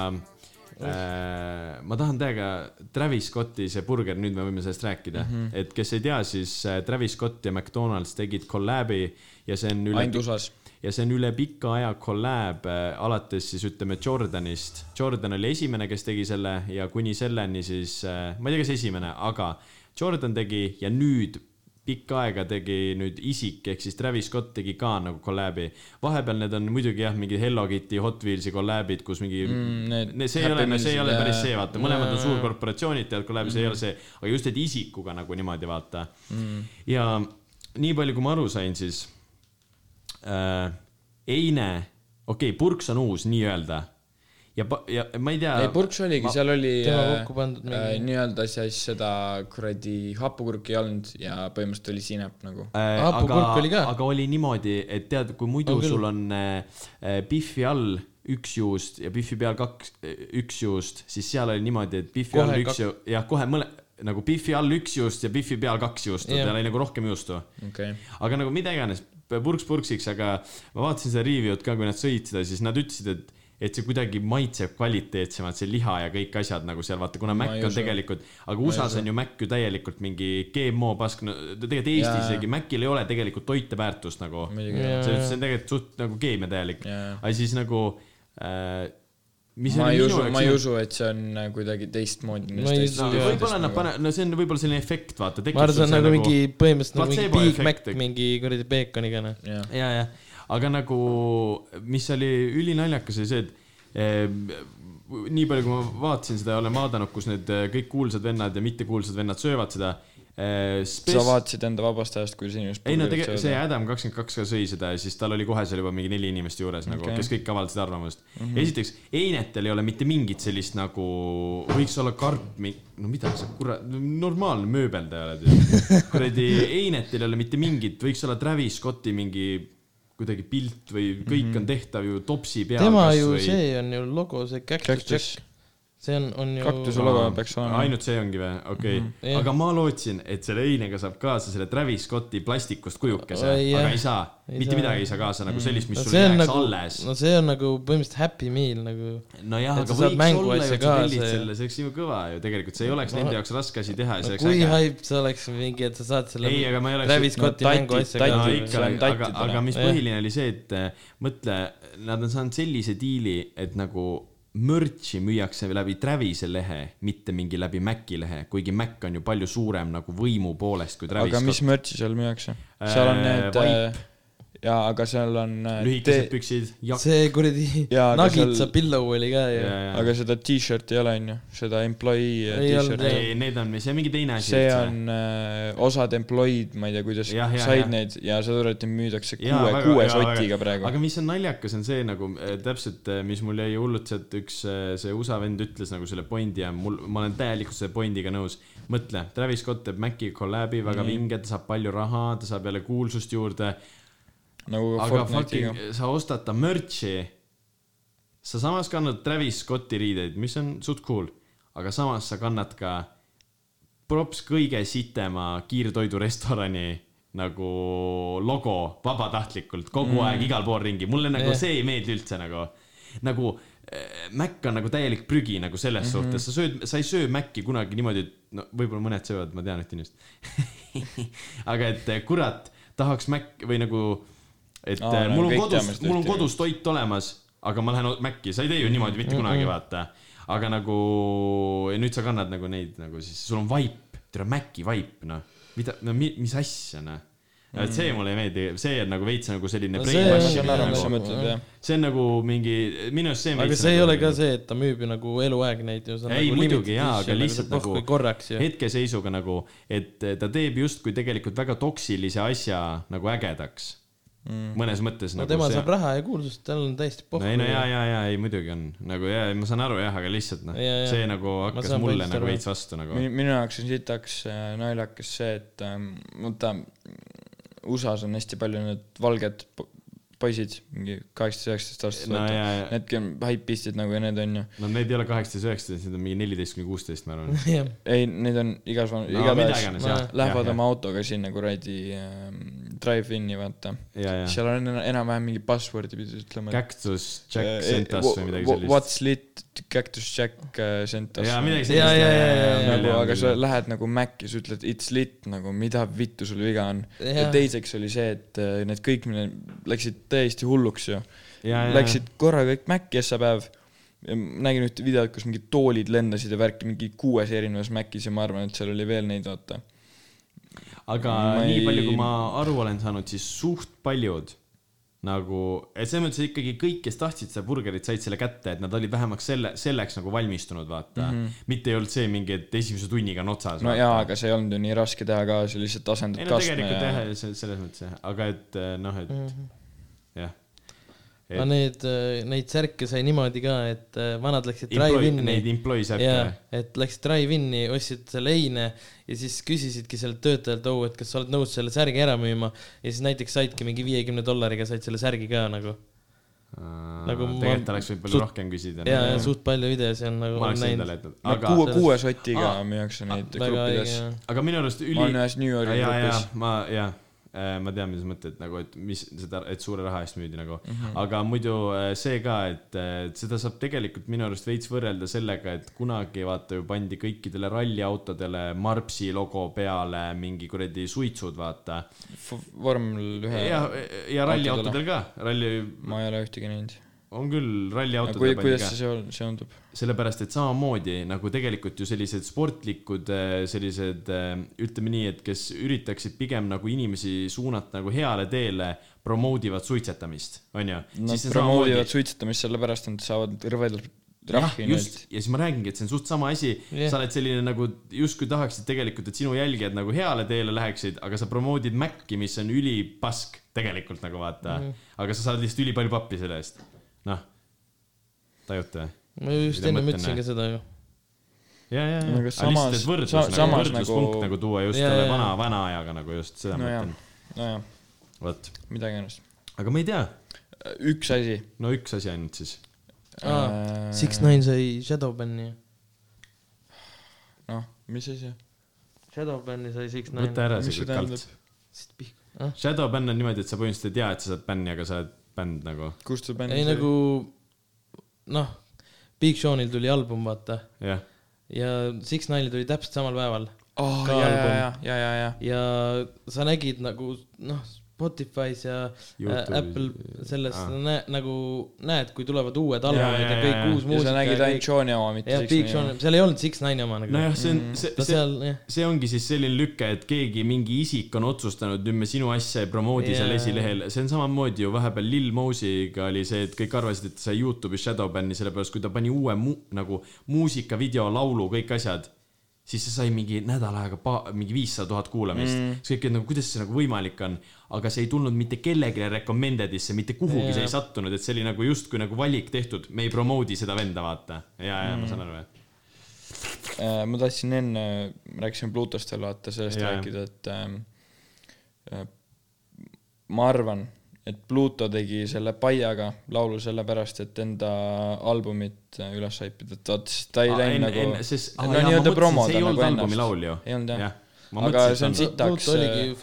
B: äh, ma tahan teada Travis Scotti see burger , nüüd me võime sellest rääkida mm , -hmm. et kes ei tea , siis äh, Travis Scott ja McDonalds tegid kolläbi ja see on üle
A: ainult USA-s .
B: ja see on üle pika aja kolläb alates siis ütleme Jordanist . Jordan oli esimene , kes tegi selle ja kuni selleni siis , ma ei tea , kas esimene , aga Jordan tegi ja nüüd pikka aega tegi nüüd isik ehk siis Travis Scott tegi ka nagu kolläbi . vahepeal need on muidugi jah , mingi Hello Kitty , Hot Wheelsi kolläbid , kus mingi mm,
A: need
B: need, see ei ole , see ei ole
A: Happy
B: päris
A: Mealsid
B: see ,
A: ja-
B: vaata , mõlemad on suurkorporatsioonid , tead , kolläbi , see ei
A: Mm.
B: ole see , aga just , et isikuga nagu niimoodi vaata mm. . ja nii palju , kui ma aru sain , siis äh, eine , okei okay, , purks on uus nii-öelda ja , ja ma ei tea .
A: ei , purks oligi , seal oli
F: tema
A: äh,
F: kokku pandud
A: äh,
F: mingi-
A: nii-öelda siis seda kuradi hapukurki ei olnud ja põhimõtteliselt oli sinep nagu .
B: äh,
F: Ah,
B: aga
F: purk , oli ka.
B: aga oli niimoodi , et tead , kui muidu
F: On
B: on
F: küll.
B: sul on äh, äh, pihvi all üks juust ja pihvi peal kaks , üks juust , siis seal oli niimoodi , et pihvi
F: Kohe
B: all
F: kak-
B: üks ju- , jah , kohe mõle- , nagu pihvi all üks juust ja pihvi peal kaks juustu yeah. ,
F: Jah.
B: seal oli nagu rohkem juustu
A: okei ,
B: aga nagu mida iganes , purks purksiks , aga ma vaatasin seda review'd ka , kui nad sõid seda , siis nad ütlesid , et et see kuidagi maitseb kvaliteetsemalt , see liha ja kõik asjad nagu seal vaata , kuna Mac
A: ei
B: on
A: usu.
B: tegelikult , aga USA-s on ju Mac ju täielikult mingi GMO pask , no tegelikult Eestis
A: Jaa.
B: isegi Macil ei ole tegelikult toiteväärtust nagu .
A: Muidugi.
F: Jaa,
B: see
F: jaa.
B: see on tegelikult suht nagu keemia täielik ,
A: Jaa.
B: aga siis nagu äh, .
A: ma ei usu , ma ei usu , et see on äh, kuidagi teistmoodi .
F: Ma ei
B: No,
F: usu, jaa.
B: võib-olla nad panevad , no see on võib-olla selline efekt , vaata .
F: ma arvan , see on nagu mingi põhimõtteliselt nagu mingi
B: Placebo
F: Big
B: efekt,
F: Mac
B: eks.
F: mingi kuradi peekoniga noh .
A: jah ,
B: ja , ja , aga nagu , mis oli ülinaljakas , oli see , et ehm, nii palju , kui ma vaatasin seda ja olen vaadanud , kus need eh, kõik kuulsad vennad ja mittekuulsad vennad söövad seda . eh,
A: sa vaatasid enda vabast ajast , kui sinu just
B: ei no tegelikult see Adam kakskümmend kaks ka sõi seda ja siis tal oli kohe seal juba mingi neli inimest juures nagu okay. ,
A: Okei.
B: kes kõik avaldasid arvamust mm . -hmm. esiteks , einetel ei ole mitte mingit sellist nagu , võiks olla karp , no mida sa kurat , normaalne mööbel ta ei ole . kuradi einetel ei ole mitte mingit , võiks olla Travis Scotti mingi kuidagi pilt või kõik mm -hmm. on tehtav ju topsi peal .
F: tema ju see on ju logo , see Cactus
A: Cactus.
F: Jack , see on , on ju .
A: Cactus logo peaks olema .
B: ainult see ongi või , okei okay. ,
F: Jah.
B: aga ma lootsin , et selle einega saab kaasa selle Travis Scotti plastikust kujukese ,
F: Oi, jah.
B: aga ei saa ,
F: Ei
B: mitte
F: saa. Mhm.
B: midagi ei saa kaasa nagu sellist , mis
F: no
B: sul
F: see on
B: jääks
F: nagu ,
B: alles .
F: no see on nagu põhimõtteliselt Happy Meal nagu .
B: nojah ,
F: et
B: aga
F: sa saad
B: võiks olla
F: mänguasja
B: ju , et sa tellid
F: kaasa ja-
B: selle , see oleks ju kõva ju tegelikult , see ei oleks nende jaoks raske asi teha ja
F: no
B: see oleks
F: kui
B: äge .
F: hype see oleks mingi , et sa saad selle
B: ei , aga ma ei oleks .
F: Travis Scotti
A: no
F: no,
A: tati-
F: mänguasja
A: tati-
B: no
A: Tatid,
B: ikka
A: see , on
B: aga ,
A: tatidele.
B: aga mis
F: Jah.
B: põhiline oli see , et äh, mõtle , nad on saanud sellise diili , et nagu mürtsi müüakse läbi Travis'e lehe , mitte mingi läbi Maci lehe , kuigi Mac on ju palju suurem nagu võimu poolest kui Travis
A: aga mis . mürtsi seal müüakse ? seal on need
B: Äh, vaip ,
A: ja aga seal on äh,
B: lühikesed
A: tee-
B: püksid , jakk .
F: see kuradi
A: Jaa, aga seal-
F: Nagitsa pillow oli ka ju .
A: aga seda t-shirt'i ei ole , onju , seda employee
F: Ei olnud,
A: t-shirt'i .
B: ei , need on , see on mingi teine asi .
A: see on äh, osad employee'd , ma ei tea , kuidas
B: Jah, jah,
A: said
B: jah.
A: neid ja seda turati müüdakse kuue , kuue sotiga praegu
B: aga . mis on naljakas , on see nagu äh, täpselt , mis mul jäi hulluks , et üks äh, see USA vend ütles nagu selle pointi ja mul , ma olen täielikult selle pointiga nõus . mõtle , Travis Scott teeb Maci kolläbi ,
A: Mhm.
B: väga vinge , ta saab palju raha , ta saab jälle kuulsust juurde ,
A: nagu ka
B: aga
A: Fortnite'iga .
B: fucking , sa ostad ta merch'i . sa samas kannad Travis Scotti riideid , mis on suht cool , aga samas sa kannad ka props kõige sitema kiirtoidurestorani nagu logo vabatahtlikult kogu mm. aeg igal pool ringi , mulle nagu
F: Jah.
B: see ei meeldi üldse nagu , nagu äh, Mac on nagu täielik prügi nagu selles mm -hmm. suhtes , sa sööd , sa ei söö Maci kunagi niimoodi , et no võib-olla mõned söövad , ma tean ühte inimest . aga et eh, kurat , tahaks Mac või nagu , et
A: Aa,
B: Aa,
A: no
B: mul on
A: kõik teame
B: kodus ,
A: seda
B: mul on
A: ühte
B: kodus toit olemas , aga ma lähen Maci , sa ei tee ju niimoodi mitte kunagi , vaata . aga nagu ja nüüd sa kannad nagu neid nagu siis , sul on vaip , tere Maci vaip , noh , mida , no mi, mis asja , noh . et see mulle ei meeldi , see on nagu veits nagu selline
F: Mm. No
A: ma
F: see-
B: brainwashing
A: saan aru , mis sa
B: nagu ,
A: mõtled , jah .
B: see on nagu mingi , minu arust see nagu
F: aga see ei ole ka see , et ta müüb ju nagu eluaeg neid ju .
B: ei nagu muidugi jaa , aga lihtsalt nagu
F: noh, korraks ju .
B: hetkeseisuga nagu , et ta teeb justkui tegelikult väga toksilise asja nagu ägedaks mm. . mõnes mõttes
F: no
B: nagu
F: tema
B: see-
F: saab raha ja kuulsust , tal on täiesti
B: no
F: pohhu .
B: ei no ja , ja , ja ei muidugi on nagu ja ma saan aru jah , aga lihtsalt noh
F: Ja, ja. ,
B: see nagu hakkas
F: saan
B: mulle
F: põhimõtteliselt
B: nagu
F: aru.
B: veits vastu nagu .
A: Mi- minu jaoks on sitaks äh, naljakas see , et ähm, vaata USA-s on hästi palju need valged po- poisid , mingi kaheksateist , üheksateist aastased
B: no ja , ja
A: Needki on haipistid nagu ja need on ju ,
B: no need ei ole kaheksateist , üheksateist , need on mingi neliteist kuni kuusteist , ma arvan .
F: jah ,
A: ei , need on igas no, ,
B: no mida
A: igatahes
B: iganes
F: ma-
B: jah .
A: lähevad oma autoga sinna kuradi ähm, drive-in'i vaata ,
B: ja , ja .
A: seal on ena- enam-vähem mingi password'i pidi ütlema . eh,
B: Cactus Jack Sentas või midagi sellist .
A: What's lit , Cactus Jack äh, Sentas .
B: ja midagi
F: Ja,
B: sellist .
F: ja, ja, ja, ja.
A: nagu , aga sa lähed nagu Maci , sa ütled it's lit nagu , mida vittu sul viga on . ja
F: Jah.
A: teiseks oli see , et äh, need kõik mine- läksid täiesti hulluks ju .
B: Ja, ja,
A: Läksid korraga kõik Maci essa päev . nägin ühte videot , kus mingid toolid lendasid ja värki mingi kuues erinevas Macis ja ma arvan , et seal oli veel neid , vaata .
B: aga
A: Ma
B: nii
A: ei-
B: palju , kui ma aru olen saanud , siis suht paljud nagu , et selles mõttes ikkagi kõik , kes tahtsid seda burgerit , said selle kätte , et nad olid vähemalt selle , selleks nagu valmistunud , vaata mm . -hmm. mitte ei olnud see mingi , et esimese tunniga on otsas .
A: Mhm. no jaa , aga see ei olnud ju nii raske teha ka , sa lihtsalt
B: ei
A: asendad
B: no tegelikult jah
A: kastme ,
B: selles mõttes jah , aga et eh, noh , et mm -hmm. jah .
F: aga need , neid särke sai niimoodi ka , et äh, vanad läksid
B: Neid
F: drive-in'i .
B: employees eh. äppe
F: jaa , et läksid drive-in'i , ostsid selle heine ja siis küsisidki sellelt töötajalt , oo , et kas sa oled nõus selle särgi ära müüma . ja siis näiteks saidki mingi viiekümne dollariga said selle särgi ka nagu . Nagu ma-
B: tegelikult oleks võib palju
F: suht-
B: rohkem küsida .
F: ja , ja suht palju videosi on nagu .
B: ma oleks endale jätnud ,
A: no
B: aga
A: kuue , kuue sotiga müüakse neid
F: väga
A: gruppides
F: õige .
B: aga minu arust üli .
A: ma olen ühes New Yorgi
B: ja , ja
A: grupis .,
B: ma , ja , ma tean , mis sa mõtled nagu , et mis seda , et suure raha eest müüdi nagu mm ,
A: Mhm.
B: -hmm. aga muidu äh, see ka , et äh, et seda saab tegelikult minu arust veits võrrelda sellega , et kunagi vaata ju pandi kõikidele ralliautodele Marpsi logo peale mingi kuradi suitsud , vaata .
A: vormel ühe ,
B: ja , ja ralliautodel ka , ralli ,
A: ma ei ole ühtegi näinud .
B: on küll ralliautodel .
A: kui , kuidas see seal seondub ?
B: sellepärast , et samamoodi nagu tegelikult ju sellised sportlikud äh, sellised äh, ütleme nii , et kes üritaksid pigem nagu inimesi suunata nagu heale teele , promootivad suitsetamist , onju .
A: Nad promootivad suitsetamist sellepärast , et nad saavad rõvedalt trahvi
B: just
A: neilt .,
B: ja siis ma räägingi , et see on suht sama asi yeah. , sa oled selline nagu justkui tahaksid tegelikult , et sinu jälgijad nagu heale teele läheksid , aga sa promoodid Maci , mis on ülipask tegelikult nagu vaata mm , -hmm. aga sa saad lihtsalt ülipalju pappi selle eest . noh , tajute või ?
F: ma just
B: Mida
F: ennem
B: mõtlen,
F: ütlesin ka seda ju .
B: ja , ja , ja
A: No , aga
B: aga
A: samas-
B: lihtsalt , et võrdlus
A: sa-
B: nagu ,
A: samas
B: võrdluspunkt
A: nagu-
B: nagu tuua just
F: Ja,
B: selle
F: ja, ja.
B: vana , vana ajaga nagu just seda ma
A: nojah
B: mõtlen ,,
A: nojah ,
B: vot .
A: midagi ennast .
B: aga ma ei tea ,
A: üks asi .
B: no üks asi ainult siis .
A: Äh,
F: Six Nine sai Shadowbanni .
A: noh , mis asi ?
F: Shadowbanni sai Six Nine .
B: võta ära
A: mis
B: see
A: see
B: kõik alt .
A: tähendab ?
B: Shadowban on niimoodi , et sa põhimõtteliselt ei tea , et sa saad bänni , aga sa oled bänd nagu ,
A: kust see bänd
F: ei nagu noh , Big Seanil tuli album , vaata ,
B: jah .
F: ja Six Nine'il tuli täpselt samal päeval
A: oh,
F: ka
A: ja , ja ,
F: album.
A: ja , ja , ja , ja .
F: ja sa nägid nagu noh , Spotify's ja
B: Youtube'is.
F: Youtube'is. Apple selles
B: Ah.
F: ah. nä, nagu näed , kui tulevad uued albumid ja,
I: ja, ja.
F: kõik
A: ja
F: uus
A: sa
F: muusika
A: nägid ainult
F: kõik... .
A: Johni oma , mitte
F: jah , Big Sean , seal ei olnud Six-Nine oma nagu no, .
B: nojah , see on , see ,
F: ta
B: see ,
F: seal , jah .
B: see ongi siis selline lüke , et keegi , mingi isik on otsustanud , nüüd me sinu asja ei promoodi yeah. seal
F: Jaa.
B: esilehel . see on samamoodi ju vahepeal Lil Mosey'ga oli see , et kõik arvasid , et see Youtube'is Shadowbanni , sellepärast kui ta pani uue mu, nagu muusika , video , laulu , kõik asjad , siis see sai mingi nädal aega pa- , mingi viissada tuhat kuulamist mm. . siis kõik olid nagu , kuidas see nagu võimalik on , aga see ei tulnud mitte kellelegi recommended isse , mitte kuhugi yeah. see ei sattunud , et see oli nagu justkui nagu valik tehtud , me ei promoodi seda venda , vaata . ja , ja mm. ma saan aru , et
A: Äh, ma tahtsin enne , rääkisime Plutost veel vaata , sellest
B: Jaa.
A: yeah. rääkida , et ähm, äh, ma arvan , et Pluto tegi selle Paiaga laulu sellepärast , et enda albumit äh, üles haipida , et vaat s- ta ei
B: Aa,
A: läinud
B: enne-
A: nagu
B: enne- sest- aa,
A: no
B: jaa, ma
A: nii-öelda
B: mõtlesin,
A: promoda
B: see ei
A: nagu
B: olnud albumi laul ju.
A: ennast . ei olnud jah
B: Jah.
A: ja.
B: Ma .
A: aga
B: mõtlesin, et
A: see on
B: on-
A: sitaks , äh,
F: oligi ju
A: see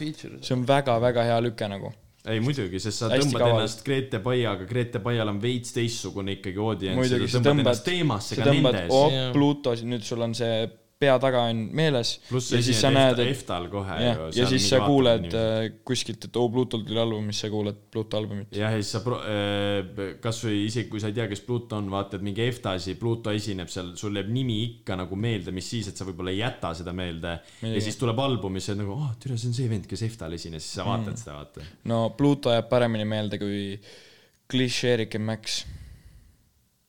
F: feature .
A: on väga-väga hea lüke nagu .
B: ei muidugi , sest sa
A: Hästi
B: tõmbad
A: kaval-
B: ennast Grete Paiaga , Grete Paial on veits teistsugune ikkagi audients ,
A: muidugi sa
B: sa tõmbad
A: tõmbad
B: ennast , teemasse
A: sa
B: ka
A: tõmbad
B: nende , ees .
A: oh
F: Jaa.
A: Pluto , nüüd sul on see pea taga on meeles
B: pluss
A: ja
B: sa
A: siis sa näed ,
B: esined
A: et
B: EFTA-l kohe
A: jah , ja siis sa kuuled . äh, kuskilt , et oo , Pluutolt tuli album , siis sa kuuled Pluuto albumit .
B: jah , ja siis sa pro- , kasvõi isegi kui sa ei tea , kes Pluto on , vaatad mingi EFTA-si , Pluto esineb seal , sul jääb nimi ikka nagu meelde , mis siis , et sa võib-olla ei jäta seda meelde . ja
A: Muidugi.
B: siis tuleb album ja siis sa oled nagu , ah , tere , see on see vend , kes EFTA-l esines , siis
A: Mm.
B: sa vaatad seda , vaata .
A: no Pluuto jääb paremini meelde kui klišeerike Max ,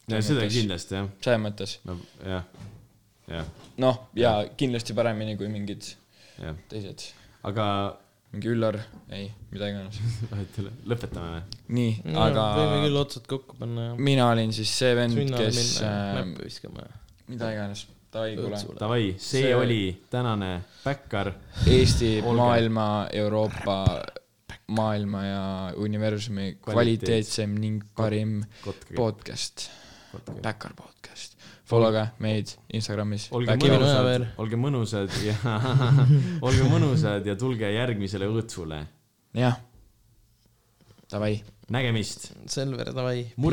B: ja seda
A: Tõenäoliselt.
B: kindlasti jah ,
A: selles mõttes .
B: no jah , jah ,
A: noh , ja kindlasti paremini kui mingid
B: jah ,
A: teised ,
B: aga
A: mingi Üllar , ei , mida iganes .
B: vahet ei ole , lõpetame või ?
A: nii ,
F: aga . võime
A: aga
F: küll otsad kokku panna ja .
A: mina olin siis see vend ,
F: sünnale
A: kes , äh,
F: minna ja näppe viskama ja .
A: mida iganes , davai , kuule .
B: Davai , see, see
A: See-
B: oli tänane päkkar .
A: Eesti , maailma , Euroopa , maailma ja universumi kvaliteetsem ning parim
B: Kotkage.
A: podcast , Päkar podcast . Followge meid Instagramis .
B: olge
F: Kivi noja
B: mõnusad
F: veel. ,
B: olge mõnusad ja olge mõnusad ja tulge järgmisele õõtsule .
A: jah , davai .
B: nägemist ,
F: Selver , davai .
B: mure